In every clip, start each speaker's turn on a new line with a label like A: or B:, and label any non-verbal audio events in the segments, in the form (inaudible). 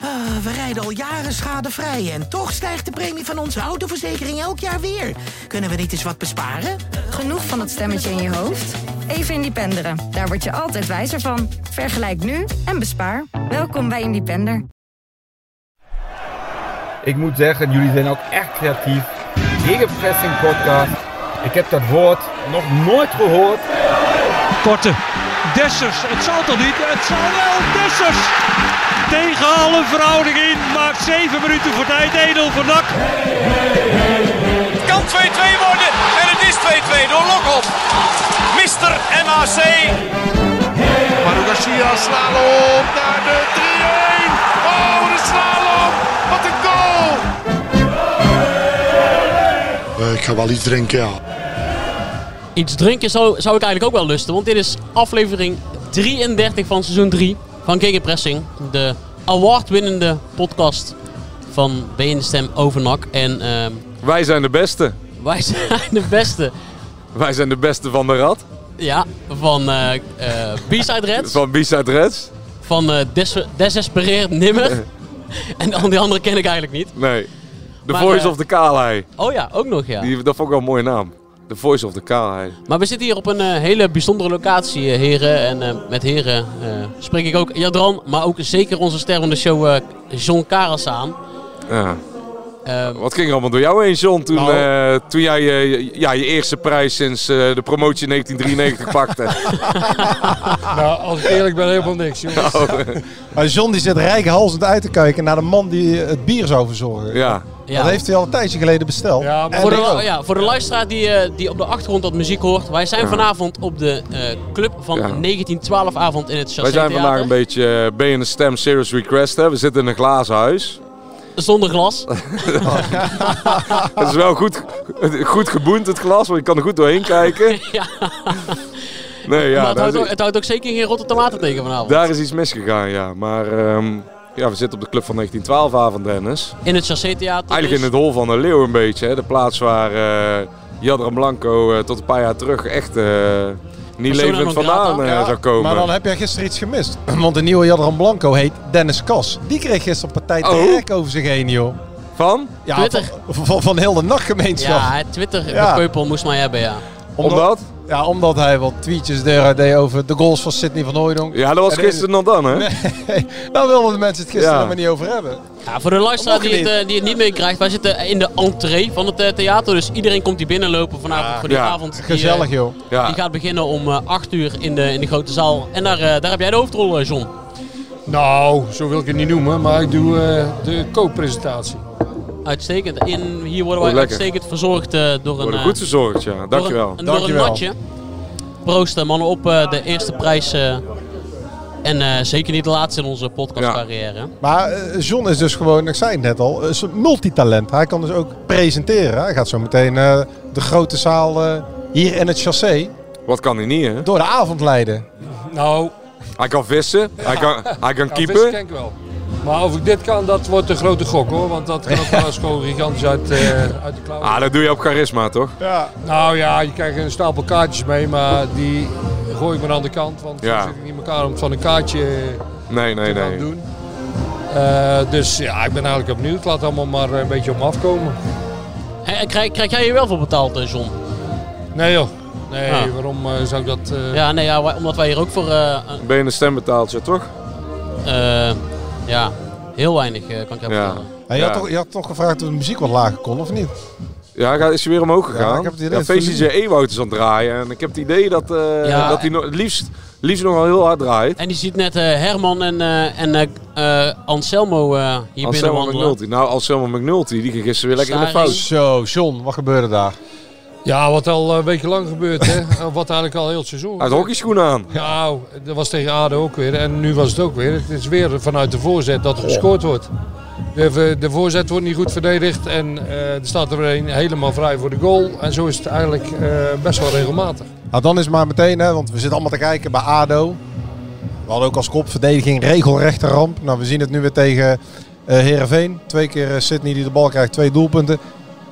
A: Ah, we rijden al jaren schadevrij en toch stijgt de premie van onze autoverzekering elk jaar weer. Kunnen we niet eens wat besparen?
B: Genoeg van dat stemmetje in je hoofd? Even Independeren. Daar word je altijd wijzer van. Vergelijk nu en bespaar. Welkom bij Independer.
C: Ik moet zeggen, jullie zijn ook echt creatief. Gegenpressing podcast. Ik heb dat woord nog nooit gehoord.
D: Korte. Dessers. Het zal toch niet? Het zal wel. Dessers. Tegen alle verhouding in. Maakt 7 minuten voor tijd. Edel van Dak.
E: kan 2-2 worden. En het is 2-2 door Lokop. Mister MAC. Maru Garcia, slalom naar de 3-1. Oh, wat een slalom. Wat een goal.
F: Eh, ik ga wel iets drinken, ja.
G: iets drinken zou, zou ik eigenlijk ook wel lusten. Want dit is aflevering 33 van seizoen 3 van Gegenpressing. De awardwinnende podcast van BN Stem Overnak. En ehm, (laughs)
H: Wij zijn de beste.
G: wij zijn de beste
H: Wij zijn de beste van de rad.
G: ja, van eh eh, B-Side
H: (laughs)
G: Reds.
H: Van B-Side Reds.
G: Van eh Des Desespereerd Nimmer. En dan die andere ken ik eigenlijk niet.
H: Nee. The
G: Maar,
H: Voice
G: eh,
H: of the Kaalei.
G: Oh ja, ook nog ja.
H: Die, dat vond ik wel een mooie naam. The Voice of the Kaalei.
G: Maar we zitten hier op een eh, hele bijzondere locatie, eh, heren. En eh, met heren eh, spreek ik ook Jadran, maar ook zeker onze ster van de show, eh John Karas aan.
H: Ja.
G: Ehm,
H: Wat ging er allemaal door jou heen, John, toen,
G: Nou.
H: eh, toen jij eh, ja, je eerste prijs sinds eh, de
G: (laughs)
H: promotie 1993 pakte?
I: Nou, als ik eerlijk ben, helemaal niks, jongens.
G: Oh.
H: Oh,
J: Maar John die zit rijkhalsend uit te kijken naar de man die het bier zou verzorgen.
H: Ja.
G: ja.
J: Dat heeft hij al een tijdje geleden besteld.
I: Ja, maar-
J: En
G: Voor
J: ik
G: de,
J: ook.
G: ja, voor de luisteraar die, eh, die op de achtergrond dat muziek hoort. Wij zijn vanavond op de eh, club van
H: Ja.
G: 1912 avond in het
H: Wij
G: Chassé
H: zijn vandaag
G: Theater.
H: een beetje eh, BN Stem Serious Request. Hè. We zitten in een glazen huis.
G: Zonder glas. Ah.
H: Het is wel goed, goed geboend, het glas, want je kan er goed doorheen kijken.
G: (laughs) ja,
H: Nee, ja,
G: maar het
H: daar
G: houdt,
H: zit-
G: ook, het houdt ook zeker geen rotte tomaten tegen vanavond.
H: Daar is iets misgegaan, ja. Maar ehm, ja, we zitten op de Club van 1912 avond, Dennis.
G: in het Chassé Theater.
H: Eigenlijk in het hol van de leeuw een beetje. Hè. De plaats waar eh Jadran Blanco eh, tot een paar jaar terug echt eh, niet
G: Persona
H: levend
G: non grata.
H: vandaan eh,
J: Ja,
H: zou komen.
J: Maar dan heb jij gisteren iets gemist. (clears throat) Want de nieuwe Jadran Blanco heet Dennis Kas. Die kreeg gisteren partij
H: Oh.
J: de hek over zich heen, joh.
H: Van?
J: Ja,
G: Twitter.
J: Van, van, van heel de nachtgemeenschap.
G: Ja, hè, Twitter.
J: Ja.
G: De Keupel moest mij hebben, ja.
H: Omdat?
J: Ja, omdat hij wat tweetjes eruit deed over de goals van Sidney van Hooydonk.
H: (laughs)
J: (laughs)
H: Ja, dat was
J: En-
H: gisteren nog dan, hè?
J: Daar wilden de mensen het gisteren
H: Ja.
J: nog maar niet over hebben.
G: Ja, voor de luisteraar
J: Dat mag
G: die het,
J: niet.
G: eh, die het niet meekrijgt. Wij zitten in de entree van het eh, theater. Dus iedereen komt hier binnenlopen vanavond voor die
H: Ja,
G: avond. die, eh,
J: Gezellig, joh.
H: Ja.
G: Die gaat beginnen om eh, 8 uur in de, in de grote zaal. En daar, eh, daar heb jij de hoofdrol, eh, John.
I: nou, zo wil ik het niet noemen, maar ik doe eh, de co-presentatie.
G: Uitstekend. In, hier worden wij
H: Oh, lekker.
G: uitstekend verzorgd eh, door
H: We
G: een...
H: worden
G: eh,
H: goed verzorgd, ja.
G: door een-
H: Dankjewel.
G: een- Door een
J: Dankjewel.
G: natje. Proost eh, mannen op eh, de eerste prijs. eh, en eh, zeker niet de laatste in onze podcastcarrière.
J: Maar eh, John is dus gewoon, ik zei het net al, is een multitalent. Hij kan dus ook presenteren. Hij gaat zo meteen eh, de grote zaal eh, hier in het chassé
H: Wat kan hij niet, hè?
J: door de avond leiden.
I: Nou,
H: Hij kan vissen, hij kan, hij kan
I: ja, vissen
H: keeper.
I: ken ik wel. Maar of ik dit kan, dat wordt een grote gok hoor. Want dat kan ook wel eens gewoon gigantisch uit, eh, uit de klauwen.
H: Ah, dat doe je op charisma, toch?
J: Ja.
I: Nou ja, je krijgt een stapel kaartjes mee, maar die gooi ik maar aan de kant. Want
H: Ja.
I: dan zit ik niet in elkaar om van een kaartje
H: Nee, nee,
I: te gaan
H: nee.
I: doen. Eh, dus ja, ik ben eigenlijk opnieuw. Ik laat allemaal maar een beetje om afkomen.
G: Eh, krijg, krijg jij hier wel voor betaald, eh, John?
I: Nee joh. Nee,
G: Ah.
I: waarom eh, zou ik dat... eh,
G: Ja, nee, ja, wij- omdat wij hier ook voor... eh,
H: Ben je een stem betaald, ja, toch?
G: eh, ja, heel weinig eh, kan ik jou
H: Ja.
G: vertellen.
J: je, had
H: Ja.
J: toch, je had toch gevraagd of de muziek wat lager kon, of niet?
H: Ja, ga- is hij weer omhoog gegaan?
J: Ja,
H: Ja,
J: ik heb het idee dat het
H: VCJ Ewout is aan het draaien. En ik heb het idee dat, eh,
G: Ja,
H: dat hij
G: en-
H: nog- het liefst, liefst nogal heel hard draait.
G: En die ziet net eh, Herman en, eh, en eh, eh, Anselmo eh, hier binnen
H: Anselmo
G: wandelen.
H: McNulty. Nou, Anselmo McNulty, die ging gisteren weer lekker in de
G: Staring.
H: fout.
J: Zo, John, wat gebeurde daar?
I: Ja, wat al eh, een week lang gebeurt, hè? wat eigenlijk al heel het seizoen.
H: Hij had hockeyschoenen aan.
I: Nou, dat was tegen ADO ook weer. En nu was het ook weer. Het is weer vanuit de voorzet dat er gescoord wordt. De, de voorzet wordt niet goed verdedigd. En eh, er staat er een helemaal vrij voor de goal. En zo is het eigenlijk eh, best wel regelmatig.
J: Nou, dan is het maar meteen, hè, want we zitten allemaal te kijken bij ADO. We hadden ook als kopverdediging regelrechte ramp. Nou, we zien het nu weer tegen eh Heerenveen. Twee keer eh, Sydney die de bal krijgt, twee doelpunten.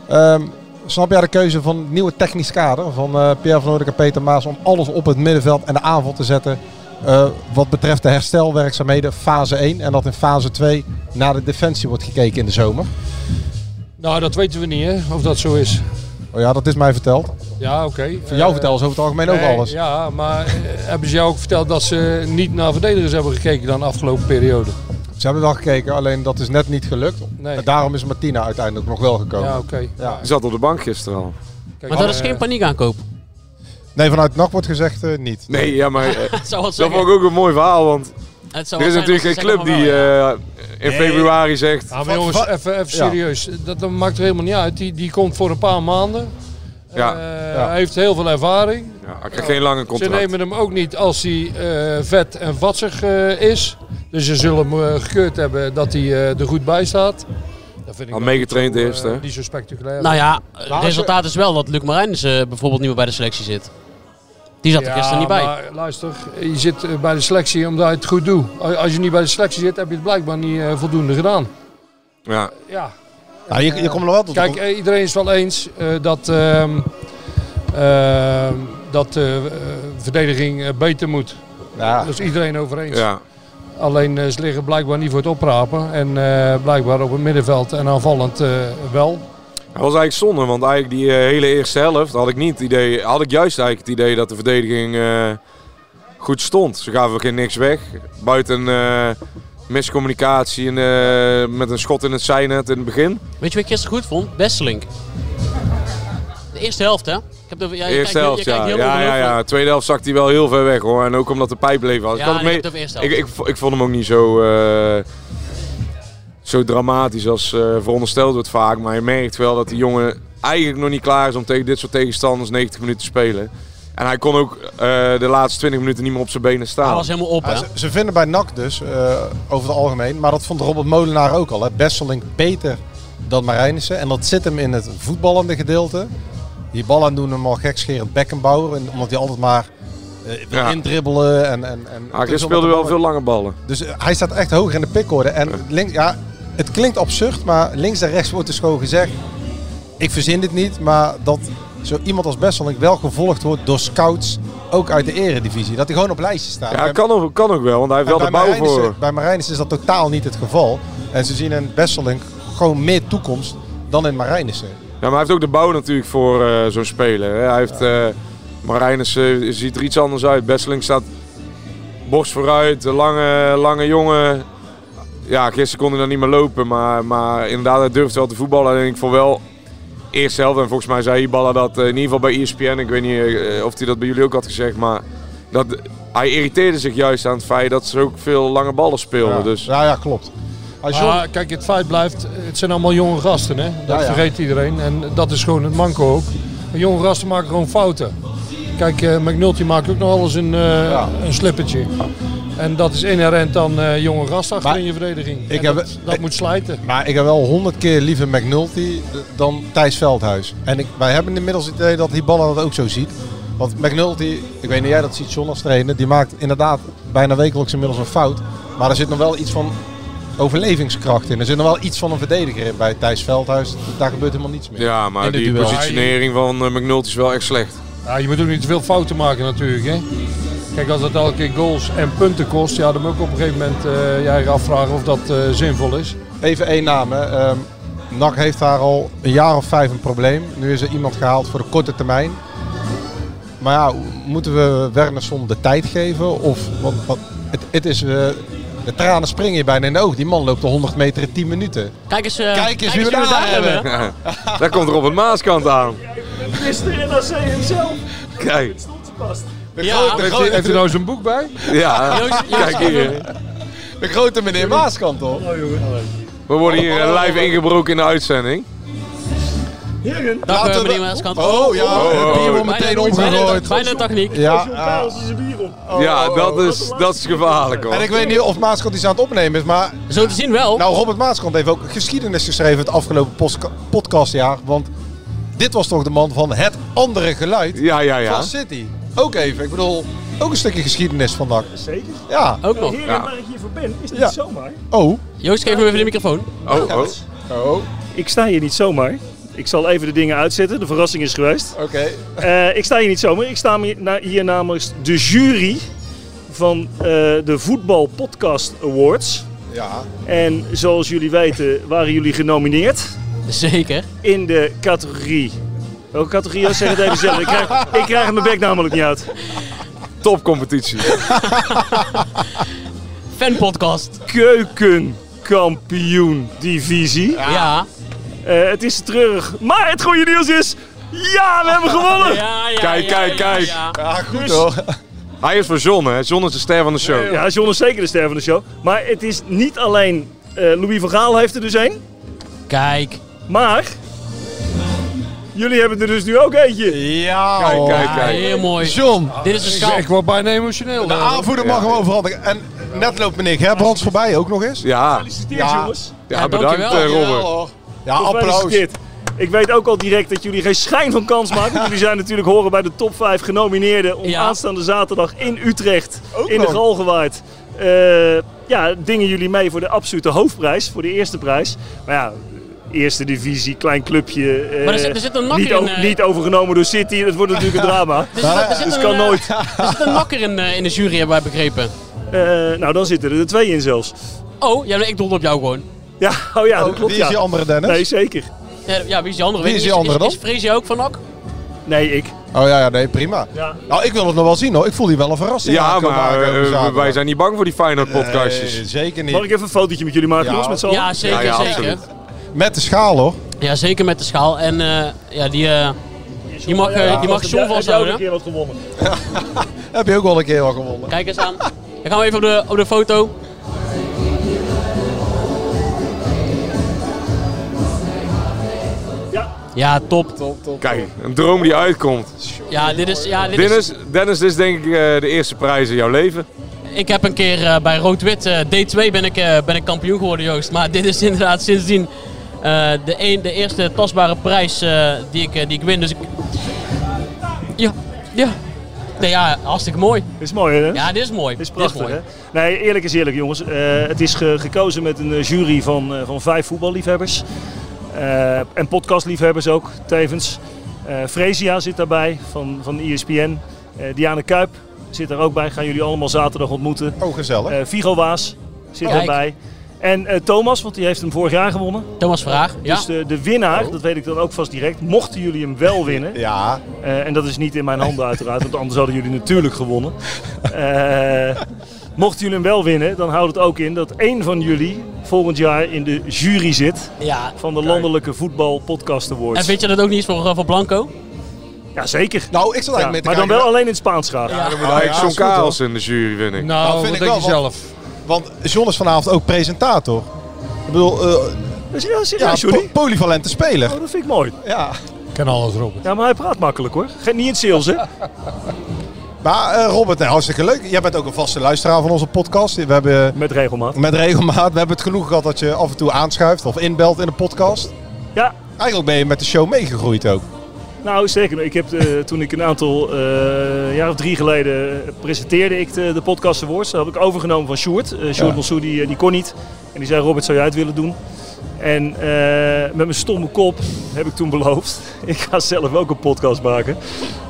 J: Ehm, snap jij de keuze van het nieuwe technisch kader van eh, Pierre van Noordijk en Peter Maas... om alles op het middenveld en de aanval te zetten eh, wat betreft de herstelwerkzaamheden fase 1. En dat in fase 2 naar de defensie wordt gekeken in de zomer.
I: Nou, dat weten we niet, hè, of dat zo is.
J: Oh ja, dat is mij verteld.
I: Ja, oké.
J: Van jou
I: Eh,
J: vertellen ze over het algemeen
I: nee,
J: ook alles.
I: Ja, maar eh, hebben ze jou ook verteld dat ze niet naar verdedigers hebben gekeken dan de afgelopen periode?
J: Ze hebben wel gekeken, alleen dat is net niet gelukt. En daarom is Martina uiteindelijk nog wel gekomen.
I: Ja, oké. eh,
J: Ja.
H: Die zat op de bank gisteren al.
G: Maar dat is geen paniekaankoop.
J: Nee, vanuit NAC wordt gezegd eh, niet.
H: Nee, ja, maar
G: (laughs) (laughs) Het zou
H: eh,
G: wat
H: dat vond
G: zeggen.
H: ik ook een mooi verhaal. Want
G: Het zou
H: er is
G: wel zijn
H: natuurlijk geen
G: dat ze
H: club
G: zeggen
H: die
G: van wel,
H: eh, in februari zegt...
I: Ja, Ah, maar jongens, even, even serieus. Dat, dat maakt er helemaal niet uit. Die, die komt voor een paar maanden.
H: Ja.
I: Eh,
H: Ja.
I: Hij heeft heel veel ervaring.
H: Ja, ik heb geen lange
I: Ze
H: contract.
I: nemen hem ook niet als hij eh, vet en vatsig eh, is. Dus ze zullen hem eh, gekeurd hebben dat hij eh, er goed bij staat. Dat vind ik
H: Al
I: wel
H: meegetraind
I: niet zo,
H: eerst,
I: eh,
H: hè?
I: Niet zo spectaculair.
G: Nou ja,
I: als
G: het
I: je-
G: resultaat is wel dat Luc Marijnis eh, bijvoorbeeld niet meer bij de selectie zit. Die zat er
I: Ja,
G: gisteren niet bij.
I: Maar luister, je zit eh, bij de selectie omdat je het goed doet. Als- Als je niet bij de selectie zit, heb je het blijkbaar niet eh, voldoende gedaan.
H: Ja.
I: Ja.
J: Nou, je, je komt nog wel tot
I: Kijk, eh, iedereen is wel eens eh, dat, ehm, ehm, dat eh, eh, verdediging eh, beter moet.
J: Ja.
I: Dat is iedereen over eens.
H: Ja.
I: Alleen eh, ze liggen blijkbaar niet voor het oprapen. En eh, blijkbaar op het middenveld en aanvallend eh, wel.
H: Dat was eigenlijk zonde, want eigenlijk die eh, hele eerste helft had ik niet het idee. Had ik juist eigenlijk het idee dat de verdediging eh, goed stond. Ze gaven geen niks weg. Buiten eh, miscommunicatie en, eh, met een schot in het zijnet in het begin.
G: Weet je wat ik gisteren goed vond? Besselink. De eerste helft, hè? Ik heb de, ja, je
H: eerste
G: kijkt,
H: helft,
G: je, je
H: ja.
G: kijkt heel
H: Ja, ja,
G: ongelooflijk.
H: ja. Tweede helft zakt hij wel heel ver weg hoor. En ook omdat de pijp leeg was.
G: Ja,
H: ik, had het
G: nee,
H: mee-
G: op de eerste
H: ik,
G: helft.
H: ik, vo- ik vond hem ook niet zo, eh, zo dramatisch als eh, verondersteld wordt vaak. Maar je merkt wel dat die jongen eigenlijk nog niet klaar is om tegen dit soort tegenstanders 90 minuten te spelen. En hij kon ook eh, de laatste 20 minuten niet meer op zijn benen staan.
G: Hij was helemaal op,
J: Ja,
G: hè?
J: ze, ze vinden bij NAC dus, eh, over het algemeen, maar dat vond Robert Molenaar ook al, hè, Besseling beter dan Marijnissen. En dat zit hem in het voetballende gedeelte. Die ballen doen hem al gekscherend Beckenbauer, en- omdat hij altijd maar eh, wil
H: Ja.
J: indribbelen. En, en, en
H: Ah, hij speelde wel veel lange ballen.
J: Dus eh, hij staat echt hoger in de pickorde. En links, ja, het klinkt absurd, maar links en rechts wordt dus gewoon gezegd, ik verzin dit niet, maar dat zo iemand als Besseling wel gevolgd wordt door scouts, ook uit de eredivisie. Dat hij gewoon op lijstjes staat.
H: Ja,
J: En-
H: kan ook, kan ook wel, want hij heeft wel de
J: en bij
H: bouw
J: Marijnissen-
H: voor.
J: Bij Marijnis is dat totaal niet het geval. En ze zien in Besselink gewoon meer toekomst dan in Marijnissen.
H: Ja, maar hij heeft ook de bouw natuurlijk voor eh, zo'n speler. Hè. Hij heeft, eh Marijnus eh, ziet er iets anders uit. Besseling staat borst vooruit, een lange, lange jongen. Ja, gisteren kon hij dan niet meer lopen, maar, maar inderdaad, hij durft wel te voetballen. En ik vond wel, eerste helft, en volgens mij zei Ibala dat eh, in ieder geval bij ESPN, ik weet niet eh, of hij dat bij jullie ook had gezegd, maar dat, hij irriteerde zich juist aan het feit dat ze ook veel lange ballen speelden.
J: Ja.
H: Dus.
J: ja, ja, klopt. Als John-
I: Maar kijk, het feit blijft, het zijn allemaal jonge gasten. Hè? Dat
J: Ja, ja.
I: vergeet iedereen. En dat is gewoon het manco ook. Maar jonge gasten maken gewoon fouten. Kijk, eh, McNulty maakt ook nog alles een, eh, een slippertje. En dat is inherent aan eh, jonge gasten achter
J: Maar
I: in je verdediging.
J: ik
I: En
J: heb-
I: dat, dat moet slijten.
J: Maar ik heb wel honderd keer liever McNulty d- dan Thijs Veldhuis. En ik, wij hebben inmiddels het idee dat die ballen dat ook zo ziet. Want McNulty, ik weet niet jij dat ziet, John als trainer, die maakt inderdaad bijna wekelijks inmiddels een fout. Maar er zit nog wel iets van overlevingskracht in. Er zit nog wel iets van een verdediger in bij Thijs Veldhuis. Daar gebeurt helemaal niets meer.
H: Ja, maar
J: In de
H: die
J: duel.
H: positionering van eh, McNulty is wel echt
J: (laughs)
H: slecht.
I: Ja, je moet ook niet te veel fouten maken natuurlijk. Hè? Kijk, als dat elke keer goals en punten kost, ja, dan moet ik op een gegeven moment eh, je eigen afvragen of dat eh, zinvol is.
J: Even één naam. Hè. Ehm, NAC heeft daar al een jaar of vijf een probleem. Nu is er iemand gehaald voor de korte termijn. Maar ja, moeten we Wernersson de tijd geven? Of, wat, wat, het, het is, eh, de tranen springen je bijna in de oog. Die man loopt de 100 meter in 10 minuten.
G: Kijk eens, eh,
J: Kijk eens wie we daar hebben.
H: Ja, daar komt er op het Maaskant aan. Mister NAC hemzelf. Kijk,
G: Ja,
J: De
G: grote-
J: grote,
I: Heeft u nou zijn boek bij?
H: ja.
G: Joost- Joost-
H: Kijk hier.
J: de grote meneer Maaskant, hoor.
H: We worden hier eh, live ingebroken in de uitzending.
G: Dag, eh,
J: Laten we-
G: meneer Maaskant.
J: Oh ja,
H: Oh, oh,
J: het bier wordt
H: oh.
J: meteen
G: Bijna- bijna-
J: omgegooid.
G: Bijna techniek.
J: Ja, ja.
H: Ja, dat is, dat is gevaarlijk
J: En
H: hoor.
J: ik weet niet of Maaskant iets aan het opnemen is, maar
G: Zo te zien wel.
J: Nou, Robert Maaskant heeft ook geschiedenis geschreven het afgelopen postka- podcastjaar. Want dit was toch de man van het andere geluid
H: Ja, ja, ja.
J: van City. Ook even, ik bedoel, ook een stukje geschiedenis van NAC. Zeker. Ja.
G: Ook nog.
H: Ja.
K: Oh, waar ik hier voor ben, is niet
J: Ja.
K: zomaar.
J: Oh.
G: Joost, geef me even de microfoon.
H: Oh, oh.
J: Oh,
K: Ik sta hier niet zomaar. Ik zal even de dingen uitzetten. De verrassing is geweest.
J: oké.
K: Eh, ik sta hier niet zomaar. Ik sta hier na- hier namens de jury van eh, de Voetbal Podcast Awards.
J: Ja.
K: En zoals jullie weten waren jullie genomineerd.
G: Zeker.
K: In de categorie. Welke categorie? Oh, Zeg het even zelf. Ik krijg, ik krijg mijn bek namelijk niet uit.
H: oh. Topcompetitie.
G: Fanpodcast.
K: Keukenkampioen divisie.
G: Ja.
K: Eh, het is treurig. Maar het goede nieuws is... Ja, we hebben gewonnen!
H: kijk, kijk, kijk.
K: goed
H: Hij is voor John, hè? John is de ster van de show.
K: Ja, John is zeker de ster van de show. Maar het is niet alleen eh, Louis van Gaal heeft er dus één.
G: Kijk.
K: Maar jullie hebben er dus nu ook eentje.
J: Ja,
K: kijk,
J: kijk, kijk.
G: Heel mooi.
J: John.
G: Dit is een
J: Ik-
G: schaal.
J: ik word bijna emotioneel. De aanvoerder mag hem overhandigen. En net loopt meneer Gerbrands voorbij ook nog eens.
H: Ja.
K: Gefeliciteerd, jongens.
H: Ja, bedankt, eh, Robert.
J: Ja,
K: Goed,
J: applaus.
K: gefeliciteerd. Ik weet ook al direct dat jullie geen schijn van kans maken. want Jullie zijn natuurlijk horen bij de top 5 genomineerden om aanstaande zaterdag in Utrecht in de
J: nog.
K: Galgenwaard. eh ja, dingen jullie mee voor de absolute hoofdprijs, voor de eerste prijs. Maar ja, eerste divisie, klein clubje. eh,
G: Maar er zit- er zit een nakker
K: niet,
G: in,
K: o-
G: eh.
K: niet overgenomen door City, dat wordt natuurlijk een drama.
G: Er zit- er zit
K: dus
G: een,
K: kan
G: eh,
K: nooit.
G: Er zit een makker in, eh, in de jury, hebben wij begrepen.
K: Eh, nou, dan zitten er twee in zelfs.
G: Oh, ja, nee, ik doelde op jou gewoon.
K: Ja, oh ja, dat klopt
J: Wie is
K: ja.
J: die andere Dennis?
K: Nee, zeker.
G: Ja, ja, wie is die andere?
J: Wie is die andere
G: is,
J: dan?
G: Is Freesia ook van NAC?
K: Nee, ik.
J: Oh ja, ja, nee, prima.
K: Ja.
J: Nou, ik wil het nog wel zien hoor. Ik voel hier wel een verrassing
H: Ja,
J: aankomen
H: maar
J: aankomen
H: eh,
J: zaterdag.
H: wij zijn niet bang voor die Feyenoord podcastjes.
J: Nee, zeker niet.
K: Mag ik even een fotootje met jullie maken,
J: Ja.
K: jongens? Met z'n allen?
G: Ja, zeker,
H: Ja, ja,
G: zeker.
H: absoluut.
J: Met de schaal hoor.
G: Ja, zeker met de schaal. En eh, ja, die, eh, die mag, eh, die mag John
K: jou een
G: vasthouden.
K: keer wat gewonnen.
J: (laughs) Heb je ook wel een keer wel gewonnen.
G: Kijk eens aan. Dan gaan we even op de, op de foto.
K: Ja.
G: Ja, top.
H: Kijk, een droom die uitkomt.
G: Ja, dit is... Ja, dit is
H: Dennis, Dennis, dit is denk ik eh, de eerste prijs in jouw leven.
G: ik heb een keer eh, bij Rood-Wit eh, D2 ben ik, eh, ben ik kampioen geworden, Joost. Maar dit is (laughs) inderdaad sindsdien eh, de, een, de eerste tastbare prijs eh, die, ik, eh, die ik win. Dus ik... Ja, ja. Nee, ja, hartstikke mooi.
K: Is mooi, hè?
G: Ja, dit is mooi.
K: Dit is prachtig,
G: mooi.
K: hè? Nee, eerlijk is eerlijk, jongens. Eh, het is ge- gekozen met een eh, jury van, eh, van vijf voetballiefhebbers. Eh, en podcastliefhebbers ook, tevens. Eh Fresia zit daarbij, van, van E ESPN. Eh Diane Kuip zit daar ook bij. Gaan jullie allemaal zaterdag ontmoeten.
J: Oh, gezellig.
K: Eh Vigo Waas zit
G: Kijk.
K: daarbij. En eh, Thomas, want die heeft hem vorig jaar gewonnen.
G: Thomas Vraag. Ja.
K: Dus de, de winnaar, dat weet ik dan ook vast direct, mochten jullie hem wel winnen.
J: Oh. Ja,
K: Eh, en dat is niet in mijn handen uiteraard, want anders hadden jullie natuurlijk
J: (laughs)
K: gewonnen. Eh, mochten jullie hem wel winnen, dan houdt het ook in dat één van jullie volgend jaar in de jury zit
G: ja.
K: van de Landelijke Voetbal Podcast
G: En
K: Awards.
G: weet je dat ook niet is voor, eh, voor Blanco?
K: Ja, zeker.
J: nou ik zat
K: Ja,
J: eigenlijk
K: maar
J: mee te
K: dan wel alleen in het Spaans graag. Ja,
H: Ah,
J: ja,
H: ik John
J: is goed, hoor.
H: Karels in de jury, vind ik.
I: Nou,
J: Dat vind
I: wat
J: ik
I: denk
J: wel,
I: je zelf?
J: kijken. Want John is vanavond ook presentator. Ik bedoel, eh, ja,
K: serieus, sorry.
J: po- polyvalente speler.
K: Oh, dat vind ik mooi.
J: Ja.
I: Kan alles, Robert.
K: Ja, maar hij praat makkelijk hoor. Geen niet in het sales, hè?
J: (laughs) Maar eh, Robert, nou, hartstikke leuk. Jij bent ook een vaste luisteraar van onze podcast. We hebben
K: Met regelmaat.
J: met regelmaat, we hebben het genoeg gehad dat je af en toe aanschuift of inbelt in de podcast.
K: Ja,
J: Eigenlijk ben je met de show meegegroeid ook.
K: Nou, zeker. Ik heb, eh, toen ik een aantal eh, jaar of drie geleden eh, presenteerde ik de, de podcast Awards. Dat heb ik overgenomen van Sjoerd. Eh Sjoerd
J: Ja.
K: Monsou, die, eh, die kon niet. En die zei, Robert, zou jij het willen doen? En eh, met mijn stomme kop heb ik toen beloofd, (laughs) ik ga zelf ook een podcast maken.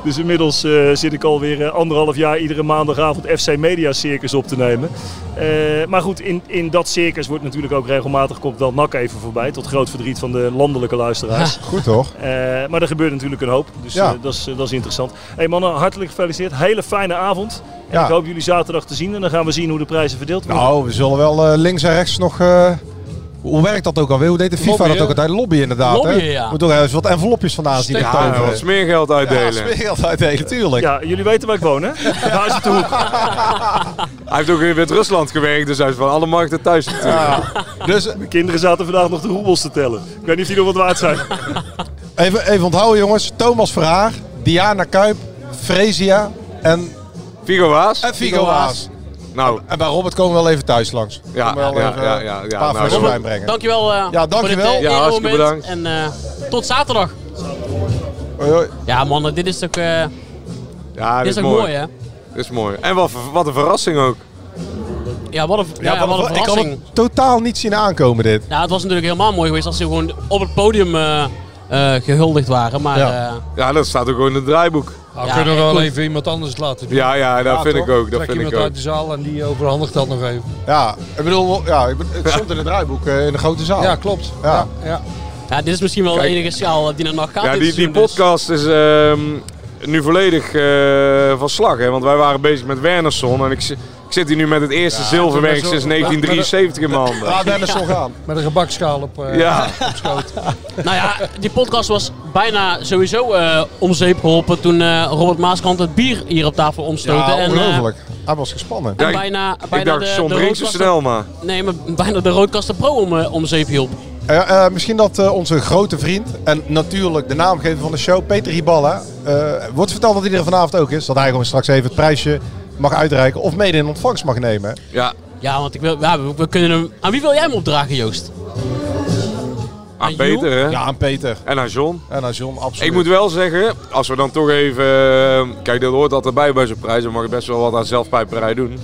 K: Dus inmiddels eh, zit ik alweer eh, anderhalf jaar iedere maandagavond FC Media Circus op te nemen. Eh, maar goed, in, in dat circus wordt natuurlijk ook regelmatig, komt wel NAC even voorbij. Tot groot verdriet van de landelijke luisteraars.
J: Goed toch?
K: Eh, maar er gebeurt natuurlijk een hoop. Dus
J: Ja.
K: eh, dat, is, eh, dat is interessant. hey mannen, hartelijk gefeliciteerd. Hele fijne avond. En
J: Ja.
K: ik hoop jullie zaterdag te zien. En dan gaan we zien hoe de prijzen verdeeld worden.
J: Nou, we zullen wel eh, links en rechts nog. eh, hoe werkt dat ook alweer? Hoe deed de FIFA
I: Lobbyen.
J: dat ook altijd? Lobby inderdaad.
G: Lobbyen,
J: hè?
G: ja.
J: Moet toch eens wat envelopjes vandaan zien.
G: Steek-
J: toveren.
H: Ja, wat smeergeld
J: ja,
H: uitdelen.
J: speelt uitdelen, tuurlijk.
K: Ja, jullie weten waar ik woon, hè? Daar is het de hoek.
H: Hij heeft ook in Wit-Rusland gewerkt, dus hij is van alle markten (laughs) thuis natuurlijk.
J: Dus eh,
K: De kinderen zaten vandaag nog de roebels te tellen. Ik weet niet of die nog wat waard
I: (laughs)
K: zijn.
I: Nou,
J: even, even onthouden jongens. Thomas Verhaar, Diana Kuip, Fresia en,
H: Figo Waas?
J: en Figo Waas.
H: Nou,
J: En bij Robert komen we wel even thuis langs.
H: Ja,
J: Komen we wel
H: ja,
J: even eh,
H: ja, ja,
J: Een
H: ja.
J: paar
H: Nou,
J: flessen
H: Robert,
J: wijn brengen.
G: Dankjewel. eh
J: Ja, dankjewel.
G: Voor dit, eh,
H: Ja, hartstikke
G: ere moment.
H: bedankt.
G: En eh, tot zaterdag.
J: Hoi, hoi.
G: Ja, mannen, dit is ook, eh,
H: ja,
G: dit is ook mooi. hè?
H: Dit is mooi. En wat, wat een verrassing ook.
G: Ja, wat een, ja,
J: Ja,
G: wat een
J: ik kan
G: verrassing.
J: het totaal niet zien aankomen dit.
G: Nou, het was natuurlijk helemaal mooi geweest als hij gewoon op het podium eh, eh, gehuldigd waren. Maar
H: Ja.
G: eh,
H: Ja, dat staat ook gewoon in het draaiboek.
I: Nou,
G: Ja,
I: kunnen we
G: en
I: wel
G: goed.
I: even iemand anders laten doen.
H: Ja, ja, dat vind
I: toch?
H: ik ook, dat
I: Trek
H: vind
I: iemand
H: ik ook.
I: uit de zaal en die overhandigt dat nog even.
J: Ja, ik bedoel, ja, ik bedoel, het stond in het draaiboek eh, in de grote zaal.
I: Ja, klopt.
J: Ja.
I: Ja.
G: ja, dit is misschien wel
H: Kijk.
G: de enige schaal die er nog gaat.
H: Ja,
G: dit
H: die, die
G: seizoen, dus.
H: podcast is ehm, nu volledig eh, van slag. Hè? Want wij waren bezig met Wernersson. En ik, zi- ik zit hier nu met het eerste zilverwerk
I: Met zo-
H: sinds 1973 in mijn handen.
J: Laat Dennis nog gaan.
I: Met een gebakschaal op, eh,
H: (laughs) Ja.
I: op schoot.
G: Nou ja, die podcast was bijna sowieso eh om zeep geholpen toen eh, Robert Maaskant het bier hier op tafel omstootte.
J: Ja,
G: en, eh,
J: ongelooflijk. Hij was gespannen.
G: en
H: Ja, ik-
G: bijna,
H: ik
G: bijna
H: dacht,
G: de,
H: John
G: de
H: drinkt zo
G: Roodkaster-
H: snel, maar-
G: Nee, maar bijna de Roodkaster Pro om, eh, om zeep hielp.
J: Eh, eh, misschien dat eh, onze grote vriend en natuurlijk de naamgever van de show, Peter Hiballa, eh, wordt verteld dat hij er vanavond ook is. Dat hij gewoon straks even het prijsje mag uitreiken of mede in ontvangst mag nemen.
H: Ja.
G: Ja, want ik wil, ja, we, we kunnen hem... Aan wie wil jij hem opdragen, Joost?
H: Aan Peter, hè?
J: Ja, aan Peter.
H: En aan John.
J: En aan John, absoluut.
H: Ik moet wel zeggen, als we dan toch even... eh, Kijk, dat hoort altijd bij bij zo'n prijs. Dan mag je best wel wat aan zelfpijperij doen.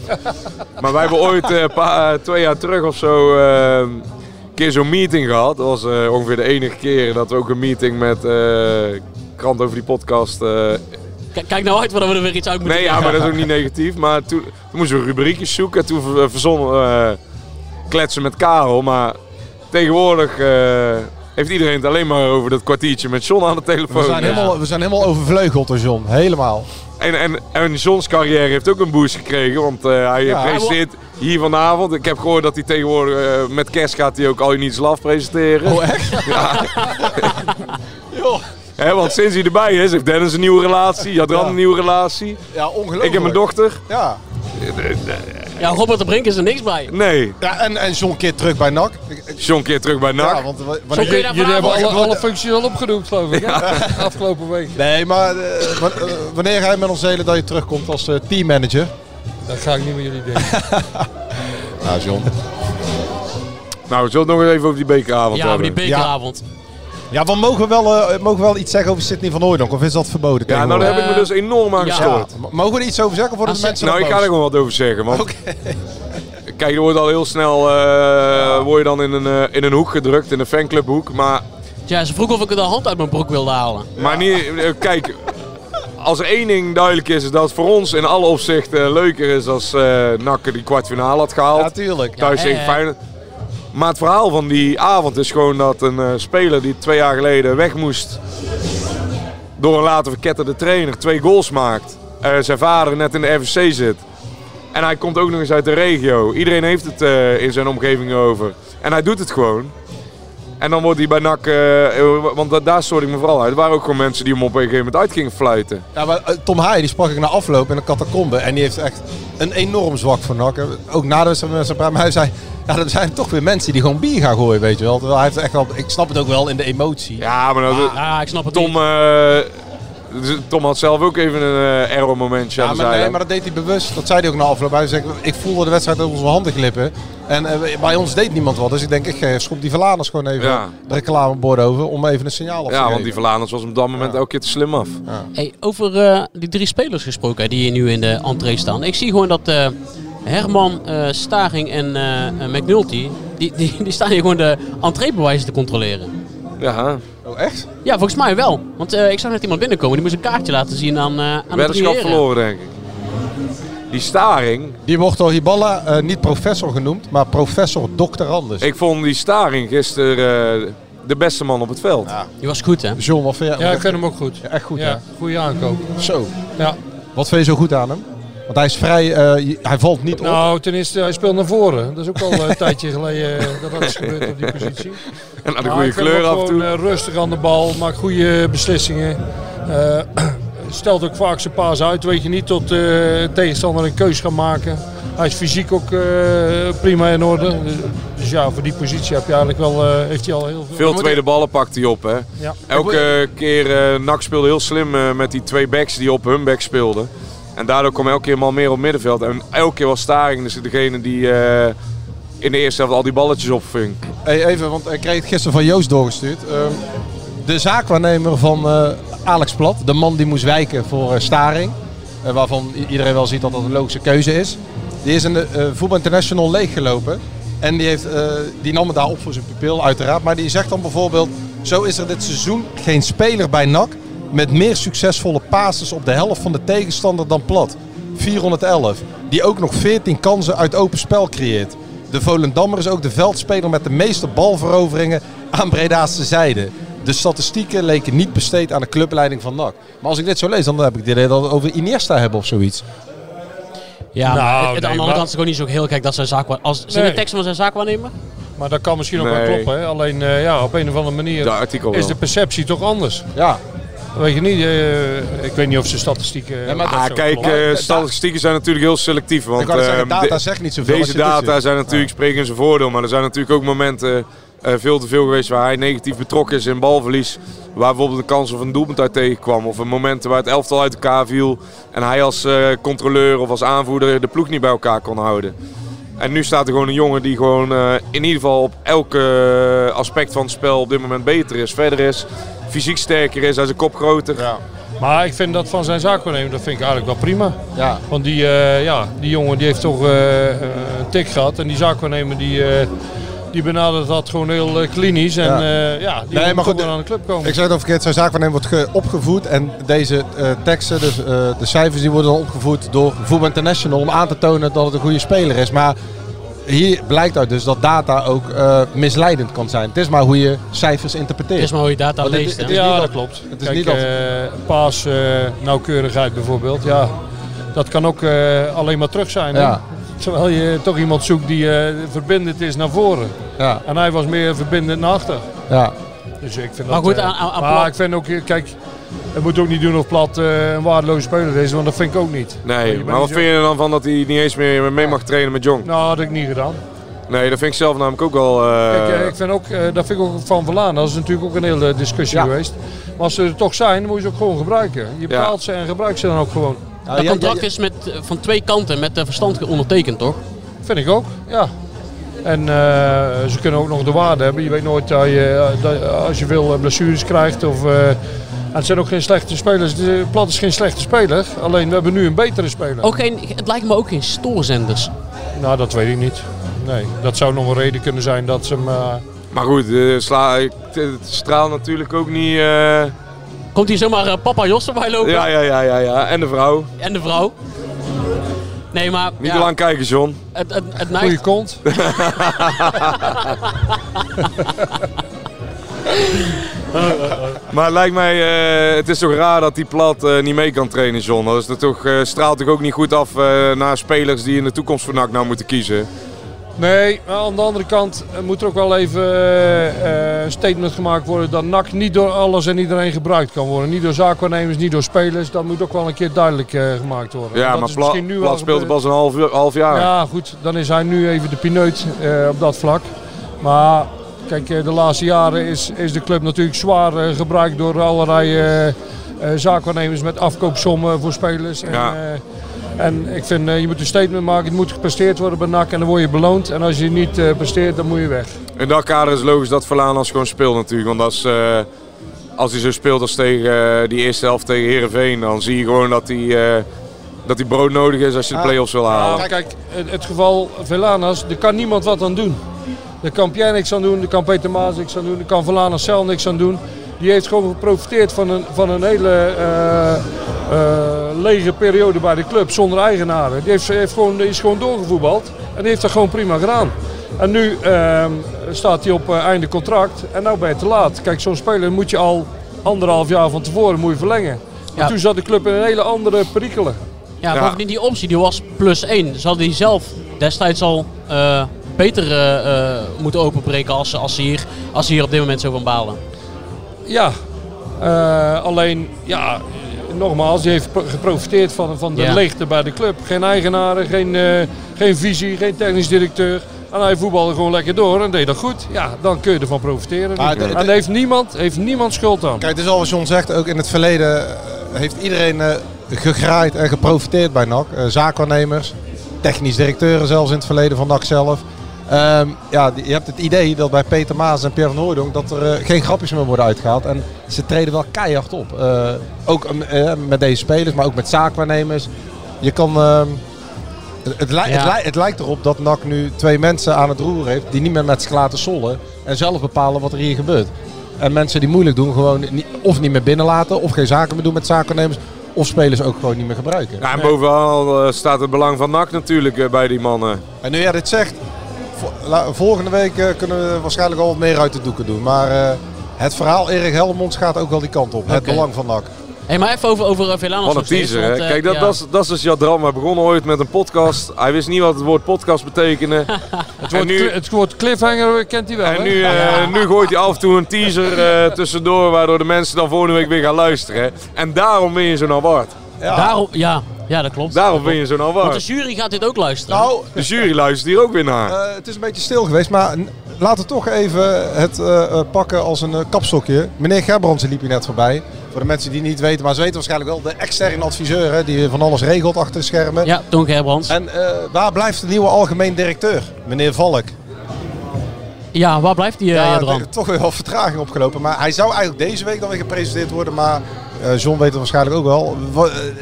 H: maar wij hebben ooit, eh, pa- eh, twee jaar terug of zo... eh, een keer zo'n meeting gehad. Dat was eh, ongeveer de enige keer dat we ook een meeting met... eh, krant over die podcast... eh,
G: K- kijk nou uit, want dan we er weer iets uit moeten
H: Nee, ja,
G: doen.
H: maar dat is ook niet negatief. Maar toen, toen moesten we rubriekjes zoeken. En toen ver- eh, verzonnen we, eh, kletsen met Karel. Maar tegenwoordig eh, heeft iedereen het alleen maar over dat kwartiertje met John aan de
J: we,
H: telefoon.
J: zijn helemaal, we zijn helemaal overvleugeld door John. Helemaal.
H: En, en, en Johns carrière heeft ook een boost gekregen. Want eh, hij
J: Ja.
H: presenteert hier vanavond. Ik heb gehoord dat hij tegenwoordig eh, met kerst gaat hij ook Al Je Niets Laf presenteren. Oh, echt? Ja. Hè, want sinds hij erbij is, heeft Dennis een nieuwe relatie. Jadran een nieuwe relatie.
J: Ja, ongelooflijk.
H: Ik heb een dochter.
J: Ja.
G: Ja, Robert de Brink is er niks bij.
H: Nee,
J: ja en, en John keer terug bij NAC. Ik- ik-
H: John keer terug bij NAC.
J: Ja, want wa- wanneer-
G: Zo kun je daar
I: Jullie hebben
G: vanavond...
I: alle, alle functies al opgenoemd, geloof ik. hè? (laughs) Afgelopen week.
J: Nee, maar eh, wa- eh, wanneer ga je met ons delen dat je terugkomt als eh, teammanager?
I: Dat ga ik niet met jullie denken.
J: Ja, John.
H: Nou, we zullen het nog eens even over die bekeravond
G: Ja, maar die
H: hebben.
G: bekeravond.
J: Ja, want mogen we wel, eh, mogen we wel iets zeggen over Sidney van Hooydonk? Of is dat verboden
H: ja, nou daar heb ik me
G: Eh,
H: dus enorm aan
G: ja.
H: gestoord.
J: tegenwoordig? M- Mogen we er iets over zeggen voor de
G: Als-
J: mensen
H: Nou, ik
J: nog
H: ga er
J: boos?
H: gewoon wat over zeggen, man.
J: Oké.
H: Kijk, je wordt al heel snel eh, word je dan in een, eh, in een hoek gedrukt, in een fanclubhoek. Maar,
G: Ja, ze vroeg of ik de hand uit mijn broek wilde halen.
H: maar niet, eh, kijk, als er één ding duidelijk is, is dat het voor ons in alle opzichten leuker is als eh Nakke die kwartfinale had gehaald.
J: Ja, tuurlijk.
H: Thuis
G: Ja,
H: tegen
G: eh.
H: Feyenoord. Maar het verhaal van die avond is gewoon dat een eh, speler die twee jaar geleden weg moest door een later verketterde trainer twee goals maakt. Eh, zijn vader net in de RVC zit. En hij komt ook nog eens uit de regio. Iedereen heeft het eh, in zijn omgeving over. En hij doet het gewoon. En dan wordt hij bij NAC... eh, eh, want da- daar stoorde ik me vooral uit. Er waren ook gewoon mensen die hem op een gegeven moment uit gingen fluiten.
J: Ja, maar, eh, Tom Haaien, die sprak ik na afloop in een catacombe. En die heeft echt een enorm zwak voor NAC. Ook na de wedstrijd met zijn praat. Maar hij zei, ja, er zijn toch weer mensen die gewoon bier gaan gooien, weet je wel. Terwijl hij heeft echt wel, ik snap het ook wel in de emotie.
H: Ja, maar dat,
G: Ah, Ja, ik snap het
H: Tom,
G: niet.
H: eh, Tom had zelf ook even een eh error-momentje
J: Ja,
H: aan de
J: maar, nee,
H: zijlijn.
J: maar dat deed hij bewust. Dat zei hij ook na afloop. Hij zei, ik voelde de wedstrijd uit onze handen glippen. En eh, bij ons deed niemand wat. Dus ik denk, ik eh, schop die Verlaners gewoon even
H: Ja.
J: de reclamebord over om even een signaal af te
H: Ja, want
J: geven.
H: die Verlaners was hem op dat moment elke keer te slim af.
G: Hey, over eh, die drie spelers gesproken hè, die hier nu in de entree staan. Ik zie gewoon dat eh, Herman, eh, Staring en eh, eh, McNulty, die, die, die staan hier gewoon de entreebewijzen te controleren.
H: Ja,
J: Oh, echt?
G: Ja, volgens mij wel. Want eh, ik zag net iemand binnenkomen, die moest een kaartje laten zien aan, eh aan de drie
H: weddenschap
G: heren.
H: verloren denk ik. Die staring,
J: Die wordt door Hiballa eh, niet professor genoemd, maar professor doctorandus.
H: ik vond die staring gisteren eh, de beste man op het veld.
G: Die was goed, hè?
J: John, wat vind jij?
I: Ja, ik vind hem ook goed.
J: Ja, echt goed,
I: Ja, goede aankoop.
J: hè? Zo.
I: Ja.
J: Wat vind je zo goed aan hem? Want hij is vrij, eh, je- hij valt niet op.
I: Nou, ten eerste, hij speelt naar voren. Dat is ook al eh, een (laughs) tijdje geleden eh, dat dat is gebeurd op die positie.
H: En had een
I: Maar
H: goede
I: ik vind hem
H: kleur
I: ook
H: af en toe.
I: gewoon, eh, rustig aan de bal, maakt goede beslissingen. Eh, (clears throat) stelt ook vaak zijn paas uit, weet je niet tot eh, tegenstander een keus gaat maken. Hij is fysiek ook eh, prima in orde. Dus, dus ja, voor die positie heb je eigenlijk wel, eh, heeft hij al heel veel.
H: Veel tweede ballen pakt hij op. Hè.
I: Ja.
H: Elke keer, eh NAC speelde heel slim eh, met die twee backs die op hun back speelden. En daardoor kwam elke keer meer op middenveld. En elke keer was Staring dus degene die eh, in de eerste helft al die balletjes opving.
J: Hey, even, want ik kreeg het gisteren van Joost doorgestuurd. Ehm, de zaakwaarnemer van eh, Alex Plat, de man die moest wijken voor eh, Staring, eh, waarvan i- iedereen wel ziet dat dat een logische keuze is, die is in de eh, Voetbal International leeggelopen. En die, heeft, eh, die nam het daar op voor zijn pupil, uiteraard. Maar die zegt dan bijvoorbeeld, Zo is er dit seizoen geen speler bij NAC met meer succesvolle passes op de helft van de tegenstander dan Plat. 411. Die ook nog 14 kansen uit open spel creëert. De Volendammer is ook de veldspeler met de meeste balveroveringen aan Breda's zijde. De statistieken leken niet besteed aan de clubleiding van NAC. Maar als ik dit zo lees, dan heb ik dit idee dat we het over Iniesta hebben of zoiets.
G: Ja,
J: Nou,
G: maar het- het,
J: nee,
G: aan de andere
J: maar-
G: kant is het ook niet zo heel gek dat zijn zaak... Als, zijn
I: Nee.
G: de teksten van zijn zaakwaarnemer?
I: Maar dat kan misschien ook wel
G: Nee.
I: kloppen. Hè? Alleen eh, ja, op een of andere manier
G: De artikel
I: is
G: wel.
I: de perceptie toch anders.
J: Ja.
I: Weet je niet, eh, ik weet niet of ze statistieken... of dat
H: ah,
I: zo
H: kijk,
I: klopt.
H: eh, statistieken zijn natuurlijk heel selectief. Want,
I: Ik wou net
H: eh,
I: zeggen, data
H: de-
I: zegt niet zoveel als
H: Deze
I: je ertussen
H: data
I: zit.
H: zijn natuurlijk spreken in zijn voordeel. Maar er zijn natuurlijk ook momenten eh, veel te veel geweest waar hij negatief betrokken is in balverlies. Waar bijvoorbeeld een kans of een doelpunt uit tegenkwam. Of een momenten waar het elftal uit elkaar viel. En hij als eh, controleur of als aanvoerder de ploeg niet bij elkaar kon houden. En nu staat er gewoon een jongen die gewoon eh, in ieder geval op elke eh, aspect van het spel op dit moment beter is. Verder is, fysiek sterker is, hij is een kop groter.
I: Maar ik vind dat van zijn zaakwaarnemer, dat vind ik eigenlijk wel prima.
J: Ja.
I: Want die, eh, ja, die jongen die heeft toch eh, eh, een tik gehad. En die zaakwaarnemer die, eh, die benadert dat gewoon heel eh, klinisch. En
J: Ja.
I: ja, ja die
J: Nee,
I: moet
J: maar goed,
I: toch wel aan de club komen.
J: Ik zei het al verkeerd, zijn zaakwaarnemer wordt ge- opgevoed en deze eh, teksten, dus, eh, de cijfers, die worden dan opgevoed door Voetbal International om aan te tonen dat het een goede speler is. Maar hier blijkt uit dus dat data ook eh, misleidend kan zijn. Het is maar hoe je cijfers interpreteert.
G: Het is maar hoe je data
J: Want het-
G: leest, hè?
J: het Oh, is niet
I: ja,
J: al-
I: dat klopt.
J: Het is
I: Kijk,
J: niet al-
I: eh, paas, eh, nauwkeurigheid bijvoorbeeld. Ja, dat kan ook eh, alleen maar terug zijn. hè?
J: Ja.
I: Terwijl je toch iemand zoekt die eh, verbindend is naar voren.
J: Ja.
I: En hij was meer verbindend naar achter.
J: Ja.
I: Dus ik vind
G: Maar
I: dat,
G: goed,
I: eh,
G: aan- aan- aan
I: maar
G: Plat-
I: ik vind ook, eh, kijk, het moet ook niet doen of Plat eh, een waardeloze speler is, want dat vind ik ook niet. Want Oh, je
H: Nee,
I: bent
H: maar wat
I: niet zo-
H: vind je er dan van dat hij niet eens meer mee mag trainen met Jong?
I: Nou, dat had ik niet gedaan.
H: Nee, dat vind ik zelf namelijk ook wel... eh,
I: Nou. Kijk, eh, ik vind ook, eh, dat vind ik ook van Verlaan. Dat is natuurlijk ook een hele discussie geweest. Maar als ze er toch zijn, dan moet je ze ook gewoon gebruiken. Je
G: Ja.
I: betaalt ze en gebruikt ze dan ook gewoon.
J: Nou,
G: dat contract is met, eh, van twee kanten met eh, verstand ondertekend, toch?
I: Vind ik ook, ja. En eh, ze kunnen ook nog de waarde hebben. Je weet nooit dat je, dat- als je veel eh, blessures krijgt. Of, eh, en het zijn ook geen slechte spelers. De Plat is geen slechte speler. Alleen we hebben nu een betere speler.
G: Ook geen, het lijkt me ook geen stoorzenders.
I: Nou, dat weet ik niet. Nee, dat zou nog een reden kunnen zijn dat ze hem... eh,
H: Maar goed, eh, sla, ik- het straalt natuurlijk ook niet... eh,
G: Komt hier zomaar eh, papa Jos erbij lopen?
H: Ja, ja, ja, ja, ja. En de vrouw.
G: En de vrouw? Nee, maar...
H: Niet
G: ja,
H: te lang kijken, John.
G: Het, het, het
I: Goeie
G: neigt...
I: kont.
H: maar het lijkt mij, eh, het is toch raar dat die plat eh, niet mee kan trainen, John. Dat is dat toch, eh, straalt toch ook niet goed af eh, naar spelers die in de toekomst voor NAC nou moeten kiezen.
I: Nee, maar aan de andere kant eh, moet er ook wel even eh, eh, een statement gemaakt worden dat NAC niet door alles en iedereen gebruikt kan worden. Niet door zaakwaarnemers, niet door spelers. Dat moet ook wel een keer duidelijk eh, gemaakt worden. En
H: Ja,
I: dat
H: maar
I: is
H: plat,
I: misschien nu wel
H: plat speelt er
I: gebeurd.
H: pas een half, uur- half jaar.
I: Ja, goed, dan is hij nu even de pineut eh, op dat vlak. Maar kijk, eh, de laatste jaren is, is de club natuurlijk zwaar eh, gebruikt door allerlei eh, eh, zaakwaarnemers met afkoopsommen voor spelers. En,
H: Ja.
I: eh, en ik vind, eh, je moet een statement maken, het moet gepresteerd worden bij NAC en dan word je beloond. En als je niet eh, presteert, dan moet je weg.
H: In dat kader is het logisch dat Verlaan als gewoon speelt natuurlijk. Want als, eh, als hij zo speelt als tegen eh, die eerste helft tegen Herenveen, dan zie je gewoon dat hij, eh, dat hij brood nodig is als je de play-offs wil halen.
I: Ja, kijk, het, het geval Velanas, daar kan niemand wat aan doen. Daar kan Pierre niks aan doen, daar kan Peter Maas niks aan doen, daar kan Velanas zelf niks aan doen. Die heeft gewoon geprofiteerd van een, van een hele eh, eh, lege periode bij de club zonder eigenaren. Die heeft, heeft gewoon, die is gewoon doorgevoetbald en die heeft dat gewoon prima gedaan. En nu ehm, staat hij op eh, einde contract en nou ben je te laat. Kijk, zo'n speler moet je al anderhalf jaar van tevoren moet je verlengen. En toen zat de club in een hele andere perikelen.
G: Ja, bovendien die optie die was plus 1. Ze hadden die zelf destijds al eh, beter eh, eh, moeten openbreken als, ze- als, ze hier, als ze hier op dit moment zo van balen.
I: Ja, eh, alleen ja, eh, nogmaals, die heeft pro- geprofiteerd van, van de
G: Ja.
I: leegte bij de club. Geen eigenaren, geen, eh, geen visie, geen technisch directeur. En hij voetbalde gewoon lekker door en deed dat goed. Ja, dan kun je ervan profiteren.
J: Maar het-
I: en
J: het-
I: daar heeft niemand, heeft niemand schuld aan.
J: Kijk, het is al wat John zegt. Ook in het verleden eh, heeft iedereen eh, gegraaid en geprofiteerd bij NAC. Eh, zaakwaarnemers, technisch directeuren zelfs in het verleden van NAC zelf. Ehm, ja, die- je hebt het idee dat bij Peter Maas en Pierre van Hooijdonk dat er eh, geen grapjes meer worden uitgehaald. En ze treden wel keihard op. Eh, ook eh, met deze spelers, maar ook met zaakwaarnemers. Je kan... ehm, het, het, lij-
G: Ja.
J: het, lij- het lijkt erop dat NAC nu twee mensen aan het roer heeft die niet meer met z'n laten sollen en zelf bepalen wat er hier gebeurt. En mensen die moeilijk doen, gewoon niet, of niet meer binnenlaten, of geen zaken meer doen met zakennemers, of spelers ook gewoon niet meer gebruiken.
H: Ja, en bovenal eh, staat het belang van NAC natuurlijk eh, bij die mannen.
J: En nu jij dit zegt, vo- la- volgende week eh, kunnen we waarschijnlijk al wat meer uit de doeken doen. Maar eh, het verhaal Erik Helmonds gaat ook wel die kant op. Het
G: Oké.
J: belang van NAC.
G: Hey, maar even over, over eh, Velanus
H: Wat een
G: nog steeds,
H: teaser,
G: want,
H: hè?
G: eh,
H: Kijk, dat,
G: ja.
H: dat, is, dat is dus Jadram. Hij begon ooit met een podcast. Hij wist niet wat het woord podcast betekende. het,
I: woord cli- het woord cliffhanger kent hij wel.
H: En
I: (laughs)
H: nu, eh, nu gooit hij af en toe een teaser eh, tussendoor, waardoor de mensen dan volgende week weer gaan luisteren. hè. En daarom ben je zo'n award.
G: Daarom, ja. ja, dat klopt.
H: Daarom ben je zo'n
G: Want de
H: award.
G: jury gaat dit ook luisteren.
J: Nou,
H: De jury luistert hier ook weer naar.
J: Eh, het is een beetje stil geweest, maar n- laten we toch even het eh, eh, pakken als een eh, kapstokje. Meneer Gerbrands liep hier net voorbij. Voor de mensen die niet weten, maar ze weten waarschijnlijk wel de externe adviseur hè, die van alles regelt achter de schermen.
G: Ja, Toon Gerbrands.
J: En eh, waar blijft de nieuwe algemeen directeur, meneer Valk?
G: Ja, waar blijft die, eh, Jadran?
J: er- toch weer wel vertraging opgelopen. Maar hij zou eigenlijk deze week dan weer gepresenteerd worden, maar eh, John weet het waarschijnlijk ook wel. Wa- eh, het
G: Hij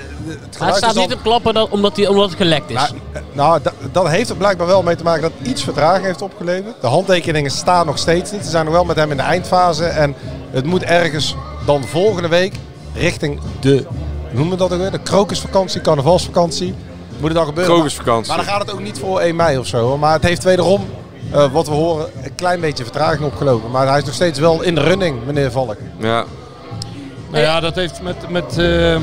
J: geluid
G: staat
J: is al-
G: niet te klappen dat, omdat, die, omdat het gelekt is.
J: Nou, da- dat heeft er blijkbaar wel mee te maken dat iets vertraging heeft opgeleverd. De handtekeningen staan nog steeds niet. Ze zijn nog wel met hem in de eindfase. En het moet ergens dan volgende week richting de, hoe noemen we dat ook weer? De krokusvakantie, carnavalsvakantie. Moet het dan gebeuren.
H: Krokusvakantie.
J: Maar dan gaat het ook niet voor 1 mei of zo. hoor. Maar het heeft wederom, eh, wat we horen, een klein beetje vertraging opgelopen. Maar hij is nog steeds wel in de running, meneer Valk.
H: Ja.
I: Nou ja, dat heeft met. met eh,